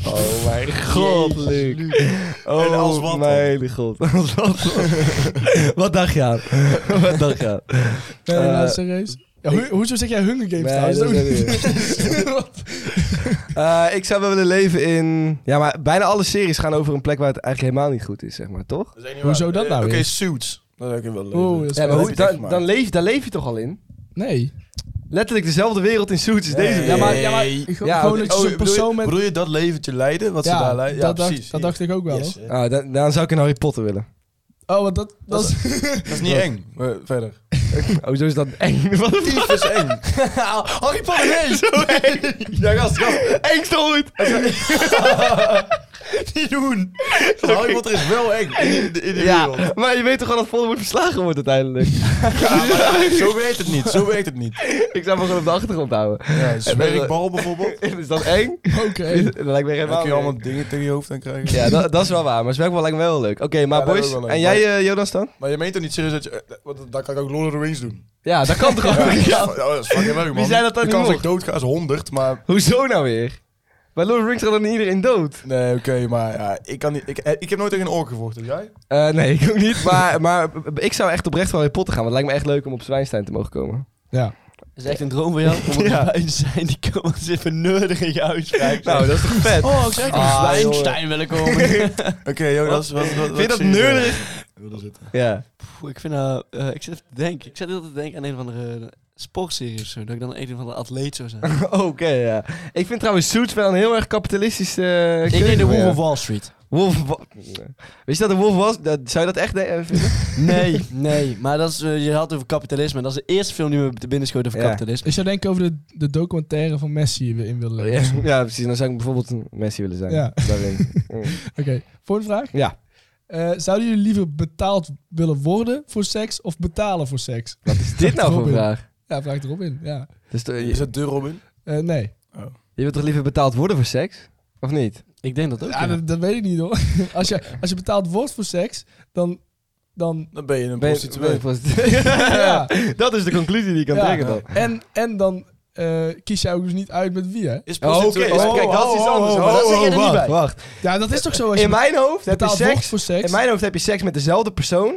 B: Oh mijn god, Luc. Oh
E: En als wat dan?
B: mijn god. Als wat, dan? wat dacht je aan? wat dacht je aan?
C: Nee,
B: Eh,
C: nou, serieus? Ja, hoe- hoezo zeg jij Hunger Games trouwens?
B: dat
C: Ook
B: weet ik
C: niet.
B: niet. Eh, ik zou wel willen leven in... Ja, maar bijna alle series gaan over een plek waar het eigenlijk helemaal niet goed is, zeg maar, toch?
E: Dat is echt niet
C: Hoezo
E: waar.
C: dat
E: Eh,
C: nou
E: Oké,
C: weer?
E: Suits. Dat heb ik wel leuk.
C: Oeh, dat is
B: Ja, maar
C: wel-
B: hoe,
E: heb je
B: Eh, dan,
E: echt
B: dan, leef, daar leef je toch al in?
C: Nee.
B: Letterlijk dezelfde wereld in Suits is deze
E: Nee.
B: wereld.
C: Ja, maar, ja, maar
E: Nee.
C: gewoon
B: Ja,
C: gewoon
B: oké.
C: dat je zo'n persoon met...
E: Bedoel je dat leventje leiden, wat ze
C: Ja,
E: daar leiden? Ja,
C: dat dacht-
E: precies.
C: dat dacht ik ook wel,
E: Yes,
C: hoor.
E: hè.
B: Ah, dan, dan zou ik in Harry Potter willen.
C: Oh, want dat, dat,
E: Dat
C: is...
E: Dat is niet eng. Eh, verder.
B: Oh, zo is dat eng. Wat een
E: Dief is eng.
B: Harry Potter nee! zo eng. Ja, gast, gast. Engste ooit.
D: Niet doen.
E: Hollywood is wel eng in, de- in de wereld.
B: Ja, maar je weet toch wel dat Voldemort verslagen wordt uiteindelijk?
E: Zo werkt het niet, zo werkt het niet.
B: ik zou me gewoon op de achtergrond houden.
E: Ja, zwerkbal bijvoorbeeld.
B: Is dat eng?
C: Oké.
B: Dat lijkt me
E: Dan
B: helemaal
E: kun je
B: niet.
E: allemaal dingen tegen je hoofd aan krijgen.
B: Ja, dat, dat is wel waar. Maar zwerkbal lijkt me wel leuk. Oké, maar
E: Ja, dat is
B: boys,
E: ook wel leuk.
B: en jij eh, Jonas dan?
E: Maar je meent toch niet serieus dat je... eh, Want dan kan ik ook Lord of the Rings doen.
B: Ja, dat kan toch ook?
E: Ja, dat is-
B: Ja.
E: oh, dat is fucking leuk, man.
B: Wie zei dat dan
E: De kans
B: nog?
E: dat ik doodga is 100, maar...
B: Hoezo nou weer? Bij Lord of the Rings gaat dan niet iedereen dood.
E: Nee, oké, maar ja, ik kan niet... Ik, eh, ik heb nooit tegen een ork gevochten, dus jij?
B: Eh, nee, ik ook niet. Maar, maar ik zou echt oprecht wel Harry Potter gaan. Want het lijkt me echt leuk om op Zwijnstein te mogen komen.
C: Ja.
D: Dat is echt een droom voor jou. Om erbij te zijn. Die komen ze verneuren in je uitspraak.
B: Nou, dat is toch vet?
D: Oh, ik zeg
B: Ah,
D: ah, Einstein wil ik komen.
E: Oké, Jonas, wat, wat, wat
B: Vind je dat
E: zie daar?
B: neurderig?
E: Ik wil er zitten.
B: Ja.
D: Poeh, ik vind nou, eh, ik zit even te denken. Ik zat heel te denken aan een van de sportseries of zo. Dat ik dan een van de atleet zou zijn.
B: Oké, ja. Ik vind trouwens Suits wel een heel erg kapitalistisch eh
D: ik
B: keuze,
D: denk de Wolf
B: ja.
D: of Wall Street.
B: Wolf of Wa- Wist je dat de Wolf was? Dat, zou je dat echt eh, vinden?
D: Nee, nee. Maar dat is, eh, je had het over kapitalisme. Dat is de eerste film die me te binnen schoot over
B: Ja.
D: kapitalisme.
C: Ik zou denken over de, de documentaire van Messi die we in willen
B: ja,
C: lezen.
B: ja, precies. Dan zou ik bijvoorbeeld een Messi willen zijn.
C: Ja.
B: Daarin. Mm.
C: Oké, volgende vraag.
B: ja,
C: Eh, zouden jullie liever betaald willen worden voor seks of betalen voor seks?
B: wat is dit nou voor
C: Robin.
B: vraag?
C: Ja, vraag erop in. Ja.
B: Dus, eh,
E: Is
B: je,
E: dat de Robin?
C: Eh, nee.
B: je wilt toch liever betaald worden voor seks? Of niet?
D: Ik denk dat ook.
C: Ja,
D: ja.
C: dat, dat weet ik niet hoor. Als je, als je betaald wordt voor seks, dan... dan
E: Dan ben je een
B: Ben je- ben
E: prostituee.
B: je prostituee? Oh,
C: ja.
B: Dat is de conclusie die ik kan
C: Ja.
B: trekken dan.
C: En, en dan eh, kies jij ook dus niet uit met wie hè?
E: Is
B: Oh, Oké,
E: prostituee...
B: dus
E: oh,
B: kijk, dat is iets anders. maar dat zeg jij er niet bij. Wacht.
C: Ja, dat is toch zo als je
B: In mijn hoofd heb je
C: betaald wordt
B: seks.
C: voor seks.
B: In mijn hoofd heb je seks met dezelfde persoon.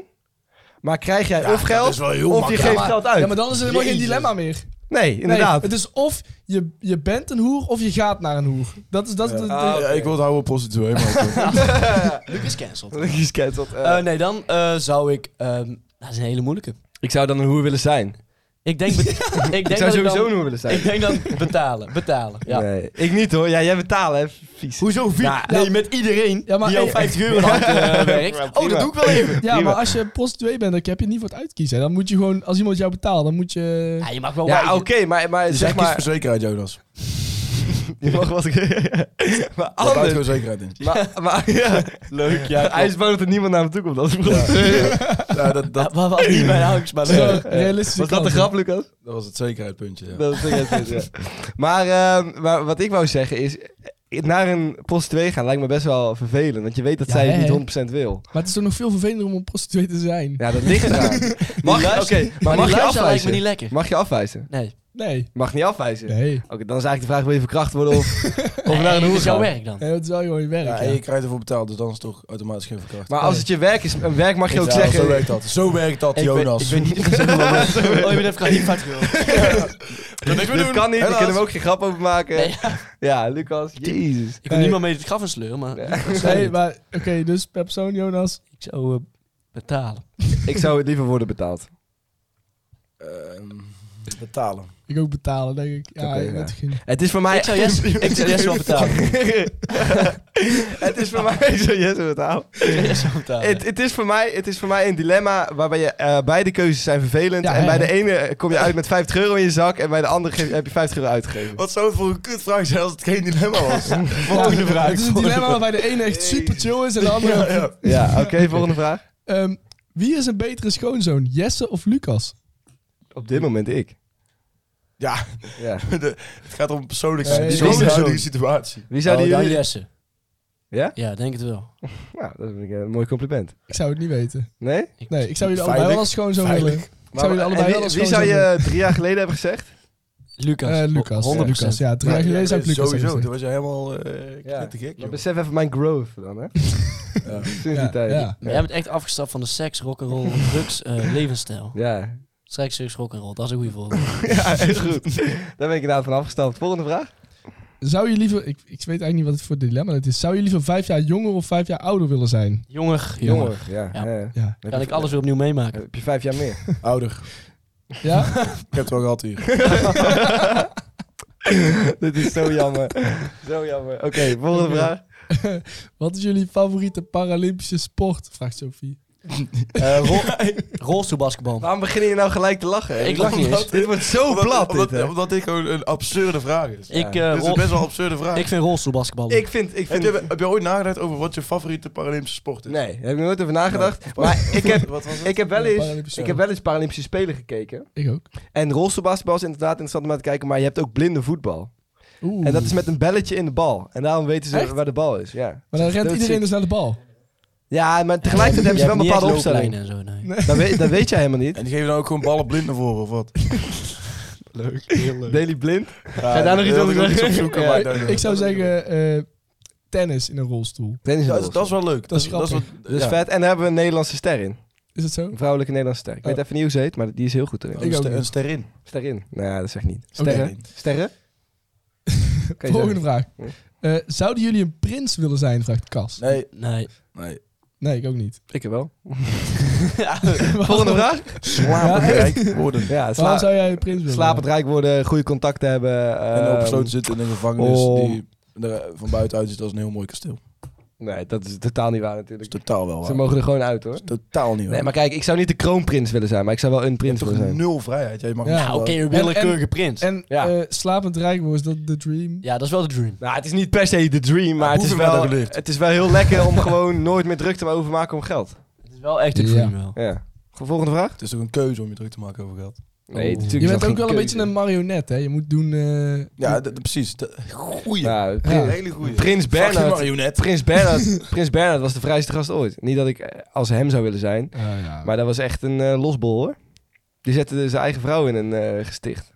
B: Maar krijg jij
E: Ja,
B: of
E: dat
B: geld
E: is wel heel
B: of je
E: makkelijk.
B: geeft
E: Ja, maar-
B: geld uit.
C: Ja, maar dan is er helemaal geen
E: Jezus.
C: dilemma meer.
B: Nee, inderdaad.
C: Nee, het is of je, je bent een hoer of je gaat naar een hoer. Dat is... Dat is de- de-
B: Oh,
E: Ja, ik wil het houden op prostituee, maar...
D: Luc is cancelled.
B: Kies cancelled. Eh,
D: Eh, nee, dan eh, zou ik... ehm, dat is een hele moeilijke.
B: ik zou dan een hoer willen zijn.
D: Ik denk, bet- ik denk
B: Ik
D: dat
B: zou sowieso
D: dan,
B: een hoer willen zijn.
D: Ik denk dan betalen, betalen. Ja.
B: Nee, ik niet hoor. Ja, jij betalen, hè? Vies.
D: Hoezo vier?
B: Ja,
D: Nou, nee, met iedereen
C: Nou, Ja, maar
D: die jou
C: ik-
D: 50 euro aan werkt.
B: Ja,
D: oh,
B: prima.
D: dat doe ik wel even.
C: Ja,
B: Prima.
C: maar als je prostituee bent, dan heb je niet voor het uitkiezen. Dan moet je gewoon, als iemand jou betaalt, dan moet je...
D: Ja, je mag wel
B: Ja,
D: wijzen.
B: oké, maar, maar
E: Dus jij
B: zeg
E: kiest voor
B: maar.
E: zekerheid, Jonas.
B: Je mag wat maar
E: Daar buiten gewoon
B: anders.
E: zekerheid in.
B: Maar, maar ja.
D: Leuk, ja.
B: Hij is bang dat er niemand naar hem toe komt. Dat is prostituee.
E: Ja, dat, dat,
D: Dat was wel niet mijn angst, maar
C: Zo,
D: leuk.
C: realistische
B: Was dat de
C: kansen.
B: grap, Lucas?
E: dat was het zekerheidpuntje, ja.
B: Dat is toch echt goed, ja. maar, ehm, maar wat ik wou zeggen is... eh, Naar een prostituee gaan lijkt me best wel vervelend. Want je weet dat
C: Ja,
B: zij
C: hè,
B: het
C: hè?
B: niet 100% wil.
C: Maar het is toch nog veel vervelender om een prostituee te zijn?
B: Ja, dat ligt eraan. Mag, je-
D: luister-
B: oké, maar
D: Maar
B: mag
D: die
B: je
D: luister lijkt me
B: afwijzen?
D: niet lekker.
B: Mag je afwijzen?
D: Nee.
C: Nee.
B: Mag niet afwijzen?
C: Nee.
B: Oké, dan is eigenlijk de vraag, wil je verkracht worden of, of naar
D: Nee,
B: een
D: dat
B: hoer
D: is jouw
B: gaan?
D: werk dan.
C: Nee, dat is wel gewoon je werk.
E: Ja,
C: Ja,
E: en je krijgt ervoor betaald, dus dan is het toch automatisch geen verkracht.
B: Maar als het je werk is, een werk mag je ook
E: Ja, Zo
B: zeggen...
E: werkt dat. Zo werkt dat,
D: Ik weet-
E: Jonas.
D: Ik weet niet of ik zo wil. Oh, je bent even graag niet 50 euro.
B: Dit kan niet, daar
E: Helaas.
B: kunnen we ook geen grap over maken.
D: Nee.
B: Ja, Lucas, jezus.
D: Ik wil
C: Nee.
D: niemand mee het graf in sleuren, maar
C: Nee, maar oké, dus per persoon, Jonas.
D: ik zou eh, betalen.
B: Ik zou het liever worden betaald.
E: Ehm, betalen.
C: Ik ook betalen, denk ik. Ja,
B: Oké,
C: je bent
B: ja.
C: geen...
B: Het is voor mij...
D: Ik zou Jess ik zou Jess wel betalen.
B: het is voor mij... Ik zou Jesse betalen.
D: Ik zou Jess wel betalen.
B: Het, het, is voor mij, het is voor mij een dilemma waarbij je, eh, beide keuzes zijn vervelend.
C: Ja,
B: en
C: hè,
B: bij de
C: hè?
B: ene eh, kom je uit met 50 euro in je zak. En bij de andere ge- heb je 50 euro uitgegeven.
E: Wat zou het voor een kutvraag zijn als het geen dilemma was?
C: Ja, Het is een dilemma waarbij de ene echt super chill is en de andere...
B: Ja, oké, volgende vraag.
C: Ehm, wie is een betere schoonzoon, Jesse of Lucas?
B: Op dit moment ik.
E: Ja,
B: Ja.
E: de- het gaat om persoonlijke
C: Nee,
E: die is de
D: nee.
E: huidige situatie.
B: Wie zouden
D: oh, dan
B: jullie...
D: Jesse.
B: Ja?
D: Ja, denk het wel.
B: Nou, dat vind ik eh, een mooi compliment.
C: Ik zou het niet weten.
B: Nee?
C: Nee, ik zou jullie allebei wel als schoonzoon willen.
E: Veilig.
C: Ik zou jullie
B: en
C: allebei
B: wie,
C: wel als
B: wie
C: schoonzoon
B: zou
C: willen.
B: je drie jaar geleden hebben gezegd?
D: Lucas.
C: Eh, Lucas.
D: 100%.
C: Lucas, ja. Drie jaar geleden zou ik Lucas hebben
E: Sowieso,
C: gezegd.
E: toen was je helemaal eh te gek,
B: Maar besef even mijn growth dan, hè?
E: Ja.
B: Sinds
C: Ja,
B: die tijd.
C: ja.
D: Maar jij bent echt afgestapt van de seks, rock'n'roll, drugs, eh, levensstijl.
B: Ja.
D: Seks, drugs, rock'n'roll, dat is een goede voorbeeld.
B: Ja, is goed. Daar ben ik inderdaad van afgestapt. Volgende vraag?
C: Zou je liever, ik, ik weet eigenlijk niet wat het voor dilemma het is. Zou je liever vijf jaar jonger of vijf jaar ouder willen zijn?
D: Jonger, jonger.
B: Jonger. Ja.
D: Ja.
B: hè.
C: Ja.
B: Heb
D: Kan
B: je-
D: ik alles weer opnieuw meemaken.
B: Heb je vijf jaar meer?
E: Ouder.
C: Ja?
E: Ik heb het wel gehad hier.
B: Dit is zo jammer. zo jammer. Oké, volgende vraag.
C: Wat is jullie favoriete Paralympische sport? Vraagt Sophie.
D: Eh, rol- rolstoelbasketbal.
B: Waarom beginnen je nou gelijk te lachen?
D: Ik lach niet eens.
B: Dit wordt zo
E: Omdat-
B: plat,
E: omdat,
B: dit, hè?
E: omdat dit gewoon een absurde vraag is.
D: Ik, eh,
E: dit is
D: rol-
E: een best wel absurde vraag.
D: ik vind rolstoelbasketbal.
B: Ik vind... Ik
E: heb,
B: vind
E: je, heb je ooit nagedacht over wat je favoriete Paralympische sport is?
B: Nee, daar heb ik nooit over nagedacht. Maar ik heb,
E: Wat was het?
B: ik, heb wel eens,
C: Paralympische
B: ik heb wel eens Paralympische Spelen gekeken.
C: Ik ook.
B: En rolstoelbasketbal is inderdaad interessant om naar te kijken, maar je hebt ook blinde voetbal.
C: Oeh.
B: En dat is met een belletje in de bal. En daarom weten ze waar de bal is, ja.
C: maar dan rent
B: dat
C: iedereen
B: is-
C: dus naar de bal.
B: Ja, maar tegelijkertijd hebben ze wel een bepaalde opstelling.
D: En zo, nee.
B: Dat weet, dat weet jij helemaal niet.
E: En die geven dan ook gewoon ballen blind naar voren, of wat?
C: Leuk. Heel leuk.
B: Daily Blind.
E: Ja,
B: daar nog iets
E: wil
B: over
E: ik ook
B: zeggen?
E: opzoeken,
B: Ja.
E: maar daar-
C: ik zou zeggen eh, tennis in een rolstoel.
B: Dennis
E: Dat,
B: Ross.
E: is- dat is wel leuk.
C: Dat is
E: wat-
B: Dus
E: ja.
B: vet. En daar hebben we een Nederlandse ster in.
C: Is dat zo?
B: Een vrouwelijke Nederlandse ster. Ik weet
C: Oh.
B: even niet hoe ze heet, maar die is heel goed erin.
C: Ik
E: Een
C: ook
E: ster-
C: niet.
E: een sterin.
B: Sterin. Nou, ja, dat zeg ik niet. Sterren.
E: Oh. Oké.
B: Sterren? Oké,
C: Volgende
B: sorry.
C: vraag.
B: Ja.
C: Eh, zouden jullie een prins willen zijn? Vraagt Cas. Nee,
E: Nee,
D: Nee.
E: nee.
C: ik ook niet.
B: Ik wel. Volgende vraag?
E: Slapen, rijk worden.
B: Ja,
C: Waarom
B: sla
C: zou jij een prins willen
B: slapend rijk worden, goede contacten hebben.
E: En
B: ehm,
E: op sloot zitten in een gevangenis
B: om-
E: die er eh, van buitenuit ziet als een heel mooi kasteel.
B: ehm, Nee, dat is totaal niet waar
E: Dat is
B: natuurlijk.
E: totaal wel
B: Ze
E: waar.
B: mogen er gewoon uit hoor.
E: Totaal niet waar.
B: Nee, maar kijk, ik zou niet de kroonprins willen zijn, maar ik zou wel een
E: je
B: prins
E: hebt
B: willen
E: toch
B: zijn.
E: nul vrijheid? Jij mag
C: Ja.
E: niet
D: Nou, oké,
E: wel-
D: een willekeurige prins.
C: En
B: Ja.
C: eh, slapend rijk worden, is dat de dream?
D: ja, dat is wel de dream.
B: Nou, het is niet per se de dream, maar het is,
E: Hoeveel wel
B: wel,
E: dat geleerd?
B: het is wel heel lekker om gewoon nooit meer druk te mogen maken om geld.
D: Het is wel echt de
C: Ja.
D: dream wel.
B: Ja. Volgende vraag?
E: Het is toch een keuze om je druk te maken over geld?
B: Nee, natuurlijk
C: Je bent ook wel een beetje een marionet, hè? Je moet doen... eh,
E: Ja, d- d- precies. D- Goeie.
B: Nou,
C: Ja.
B: prins,
E: Hele goeie.
B: prins
E: Fuck je
B: Bernhard.
E: marionet.
B: Prins Bernhard, prins Bernhard was de vrijste gast ooit. Niet dat ik eh, als hem zou willen zijn,
C: ah, ja.
B: maar dat was echt een eh, losbol hoor. Die zette de- zijn eigen vrouw in een eh, gesticht.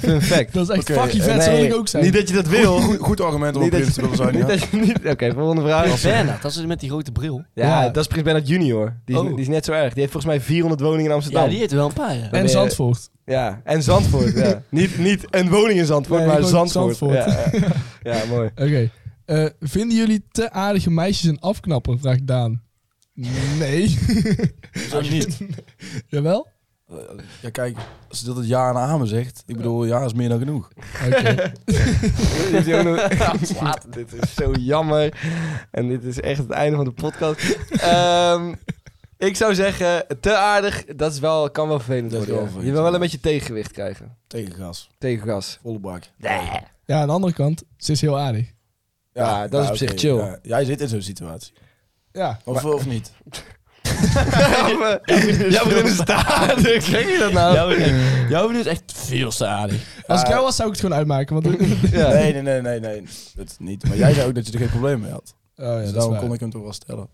B: Fun fact.
C: dat is echt
E: Oké,
C: fucking
B: Eh,
C: vet, zo wil
B: nee,
C: ik ook zijn.
B: Niet dat je dat wil.
E: Goed, goed argument om een
B: Niet dat
E: prins te
B: je-
E: willen zijn.
B: niet
E: ja.
B: dat je niet- Oké, volgende vraag.
D: Prins Bernhard, dat is met die grote bril.
B: Ja,
C: Ja.
B: dat is Prins Bernhard junior. Die is,
D: Oh.
B: die is net zo erg. Die heeft volgens mij 400 woningen in Amsterdam.
D: Ja, die heeft er wel een paar, ja.
B: ben
C: en
B: je-
C: Zandvoort.
B: Ja, en Zandvoort. ja. Niet, niet een woning in Zandvoort,
C: Nee,
B: maar
C: gewoon
B: Zandvoort.
C: Zandvoort.
B: Ja, Ja, ja, mooi.
C: Oké. Eh, vinden jullie te aardige meisjes een afknapper? Vraagt Daan. Nee.
E: Zo niet.
C: Jawel?
E: Eh, Ja, kijk, als dat het ja en amen zegt, ik bedoel, ja is meer dan genoeg.
C: Oké.
B: Dit is ook nog- dit is zo jammer. En dit is echt het einde van de podcast. Ehm, ik zou zeggen, te aardig, dat is wel, kan wel vervelend
E: Dat is
B: worden.
E: wel
B: ja.
E: vervelend,
B: Je wil wel een
E: ja.
B: beetje tegengewicht krijgen.
E: Tegengas,
B: Tegengas.
E: volle bak.
C: Ja, aan de andere kant, ze is heel aardig.
B: Ja, dat is op zich
E: oké,
B: chill.
E: ja. jij zit in zo'n situatie.
C: Ja.
E: Of, of niet?
B: Ja, begint is te aardig. Zeg je dat nou?
D: Jouw jouw vriendin is echt veel te aardig.
C: Als ik
E: Ah.
C: jou was, zou ik het gewoon uitmaken. Want oh
B: Ja.
E: Nee, nee, nee, nee, nee. Dat niet. Maar jij zei ook dat je er geen probleem mee had.
C: ja,
E: dus
C: dat is
E: daarom
C: waar.
E: kon ik hem toch wel stellen.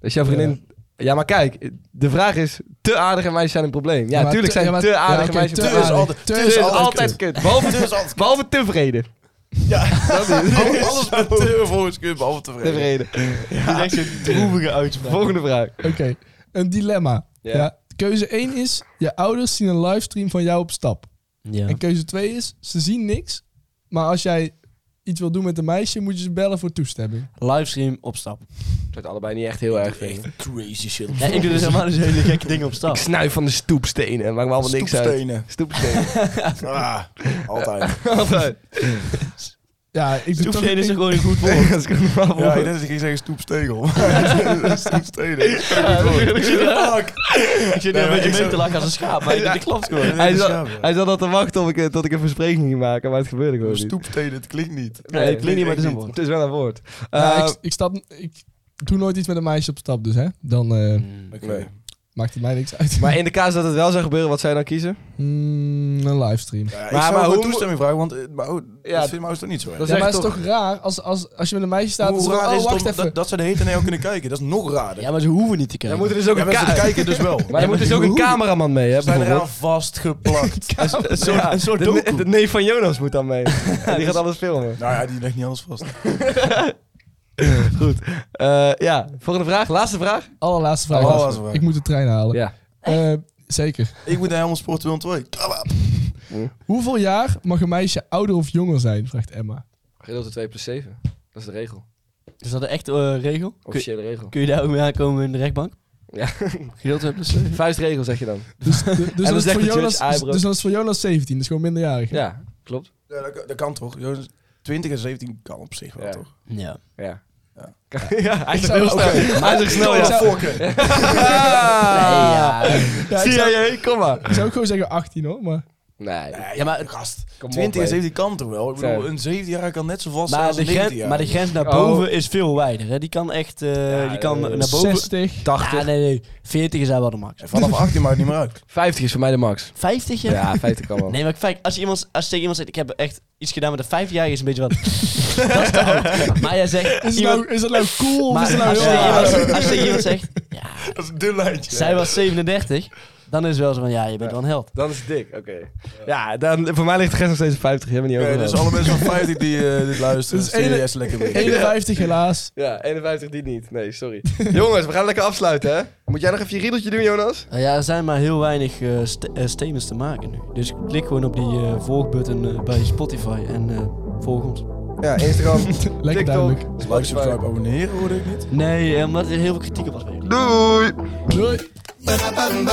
B: Dus jouw vriendin... Ja. maar kijk, de vraag is, te aardige meisjes zijn een probleem. Ja,
C: maar
B: tuurlijk
C: te-
B: zijn
C: ja, maar-
B: te aardige
C: ja, oké,
B: meisjes
C: te
B: een
E: Dus
B: probleem.
C: aardig.
E: altijd,
C: Te
E: dus
B: Te is
E: altijd,
B: altijd kut. Behalve,
E: Dus altijd kut.
B: behalve tevreden.
E: Ja, dat is alles met deur volgens kun je behalve tevreden.
B: Tevreden.
D: Dat is echt zo'n droevige uitspraak.
B: Volgende vraag.
C: Oké, een dilemma.
B: Ja.
C: Ja. Keuze 1 is, je ouders zien een livestream van jou op stap.
D: Ja.
C: En keuze 2 is, ze zien niks. Maar als jij iets wil doen met een meisje, moet je ze bellen voor toestemming.
D: Livestream op stap.
B: Ik zou het allebei niet echt heel erg vinden.
E: Crazy shit.
D: Ja, ik doe dus helemaal dus hele gekke dingen op stap.
B: Ik snuif van de stoepstenen. Maakt me allemaal niks uit.
E: Stoepstenen.
B: Stoepstenen.
E: Ah, altijd.
B: Altijd.
C: Ja, ik doe toch...
D: Toefstenen is gewoon een goed woord.
B: Dat is gewoon normaal
E: Ja, ik
B: woord.
E: denk dat Dus ik ging zeggen stoepstegel. stoepstenen. Fuck.
D: Ik zit nu een
E: Nee,
D: beetje
E: maar ik
D: mee
E: zou-
D: te lachen als een schaap, maar dat klopt gewoon.
B: Hij
E: is
B: zat,
E: schaam, ja.
B: hij zat al te wachten op ik, eh, tot ik een verspreking ging maken, maar het gebeurde gewoon niet.
E: Stoepstenen, het klinkt niet.
B: Nee, het klinkt niet, maar het is een woord. Het is wel een woord.
C: Ja,
B: Eh,
C: ik, ik, stap, ik doe nooit iets met een meisje op stap, dus hè. Dan eh,
E: Oké.
B: Nee.
C: maakt het mij niks uit.
B: maar in de kaas dat het wel zou gebeuren, wat zou je dan kiezen?
C: Mm, een livestream.
E: Ja, ik
B: Maar-
E: zou
B: maar
E: maar
B: hoe-
E: toestemming vragen, want eh, maar, oh,
B: Ja,
E: dat vindt mijn ouders toch niet zo erg.
B: Dat
C: Ja,
B: is
C: maar
B: echt
C: het is
B: toch-
C: toch raar als, als, als je met een meisje staat...
E: Hoe
C: en zo
E: raar
C: van,
E: is
C: oh,
E: het
C: wacht
E: om-
C: even.
E: dat, dat ze de hete nee ook kunnen kijken? Dat is nog raarder.
D: Ja, maar ze hoeven niet te
B: Dan
D: kijken.
B: moet er dus ook
E: Ja,
B: een,
E: maar ze
B: ka-
E: kijken dus wel.
B: maar er moet dus ook een cameraman mee, hè?
E: Ze zijn
B: bijvoorbeeld.
E: eraan vastgeplakt.
B: Een soort, dus-
D: een soort
B: de, ne-
D: doku.
B: de neef van Jonas moet dan mee. En die gaat alles filmen.
E: nou ja, die legt niet alles vast.
B: Eh, ja, volgende vraag. Laatste vraag.
C: Allerlaatste vraag.
E: Allerlaatste vraag.
C: Ik moet de trein halen.
B: Ja.
C: Eh, zeker.
E: Ik moet naar Helmond Sport 202.
C: Hoeveel jaar mag een meisje ouder of jonger zijn? Vraagt Emma.
B: Gedeeld door 2 plus 7. Dat is de regel.
D: Is dat een echte eh, regel? Kun,
B: Officiële regel.
D: kun je daar ook mee aankomen in de rechtbank?
B: Ja.
D: Gedeeld hebben dus. eh,
B: Vuistregel zeg je dan.
C: Dus, de- dus,
B: dan
C: dan is
B: zegt
C: het voor
B: de judge,
C: Jonas,
B: "Ah,
C: dus,
B: bro."
C: dus dan is het voor Jonas 17, dus gewoon minderjarig.
B: Ja, klopt.
E: Ja, dat, dat kan toch? Jonas, 20 en 17 kan op zich wel,
B: Ja.
E: toch?
D: Ja.
B: Ja. Ja, hij is
C: zou-
B: heel snel.
C: oké.
B: Hij is echt snel,
C: Ik
B: Oh ja.
C: zou-
B: Ja.
C: Ja, ik,
B: Zie
C: zou,
B: jij je? Kom maar.
C: ik zou ook gewoon zeggen 18 hoor, maar...
B: Nee.
D: Ja, maar,
E: Gast,
B: Kom op,
E: 20 en
B: hé.
E: 17 kan toch wel? Ik bedoel,
B: Zo.
E: een 17 jaar kan net zo vast zijn
D: maar,
E: als
D: de
E: een 19
D: grens,
E: jaar.
D: maar de grens naar
B: Oh.
D: boven is veel wijder. Hè? Die kan echt eh,
B: Ja,
D: die kan
B: eh,
D: naar boven.
C: 60.
B: 80.
D: Ah, nee, nee. 40 is daar wel de max.
E: En Vanaf 18 maakt het niet meer uit.
B: 50 is voor mij de max.
D: 50 jaar?
B: Ja, 50 kan wel.
D: Nee, maar kijk, als je, iemand, als je tegen iemand zegt, ik heb echt iets gedaan met een 50-jarige, is een beetje wat... dat is te oud. Maar jij zegt...
C: Is het,
D: iemand-
C: nou, is het nou cool? of
D: maar
C: is het nou
D: als,
C: heel
D: je tegen
C: raar?
D: iemand, als je tegen iemand zegt, ja,
E: Dat is een dun lijntje.
D: zij was 37, dan is het wel zo van, ja, je bent wel een held.
B: Dan is het dik, oké. Ja, dan, voor mij ligt de grens nog steeds op 50. Helemaal niet
E: Oké,
B: over.
E: dus alle mensen van 50 die eh, dit luisteren,
C: Dus
E: dus
C: ene-
E: serieus lekker mee.
C: 51 helaas.
B: Ja, 51 die niet. Nee, sorry. Jongens, we gaan lekker afsluiten, hè? Moet jij nog even je riedeltje doen, Jonas?
D: Nou ja, er zijn maar heel weinig eh st- eh, statements te maken nu. Dus klik gewoon op die eh volgbutton eh, bij Spotify en eh, volg ons.
B: Ja, Instagram,
C: Lekker duidelijk.
E: Like, subscribe, abonneren hoorde ik niet.
D: Nee, eh, omdat er heel veel kritiek op was bij jullie.
B: Doei!
C: Doei.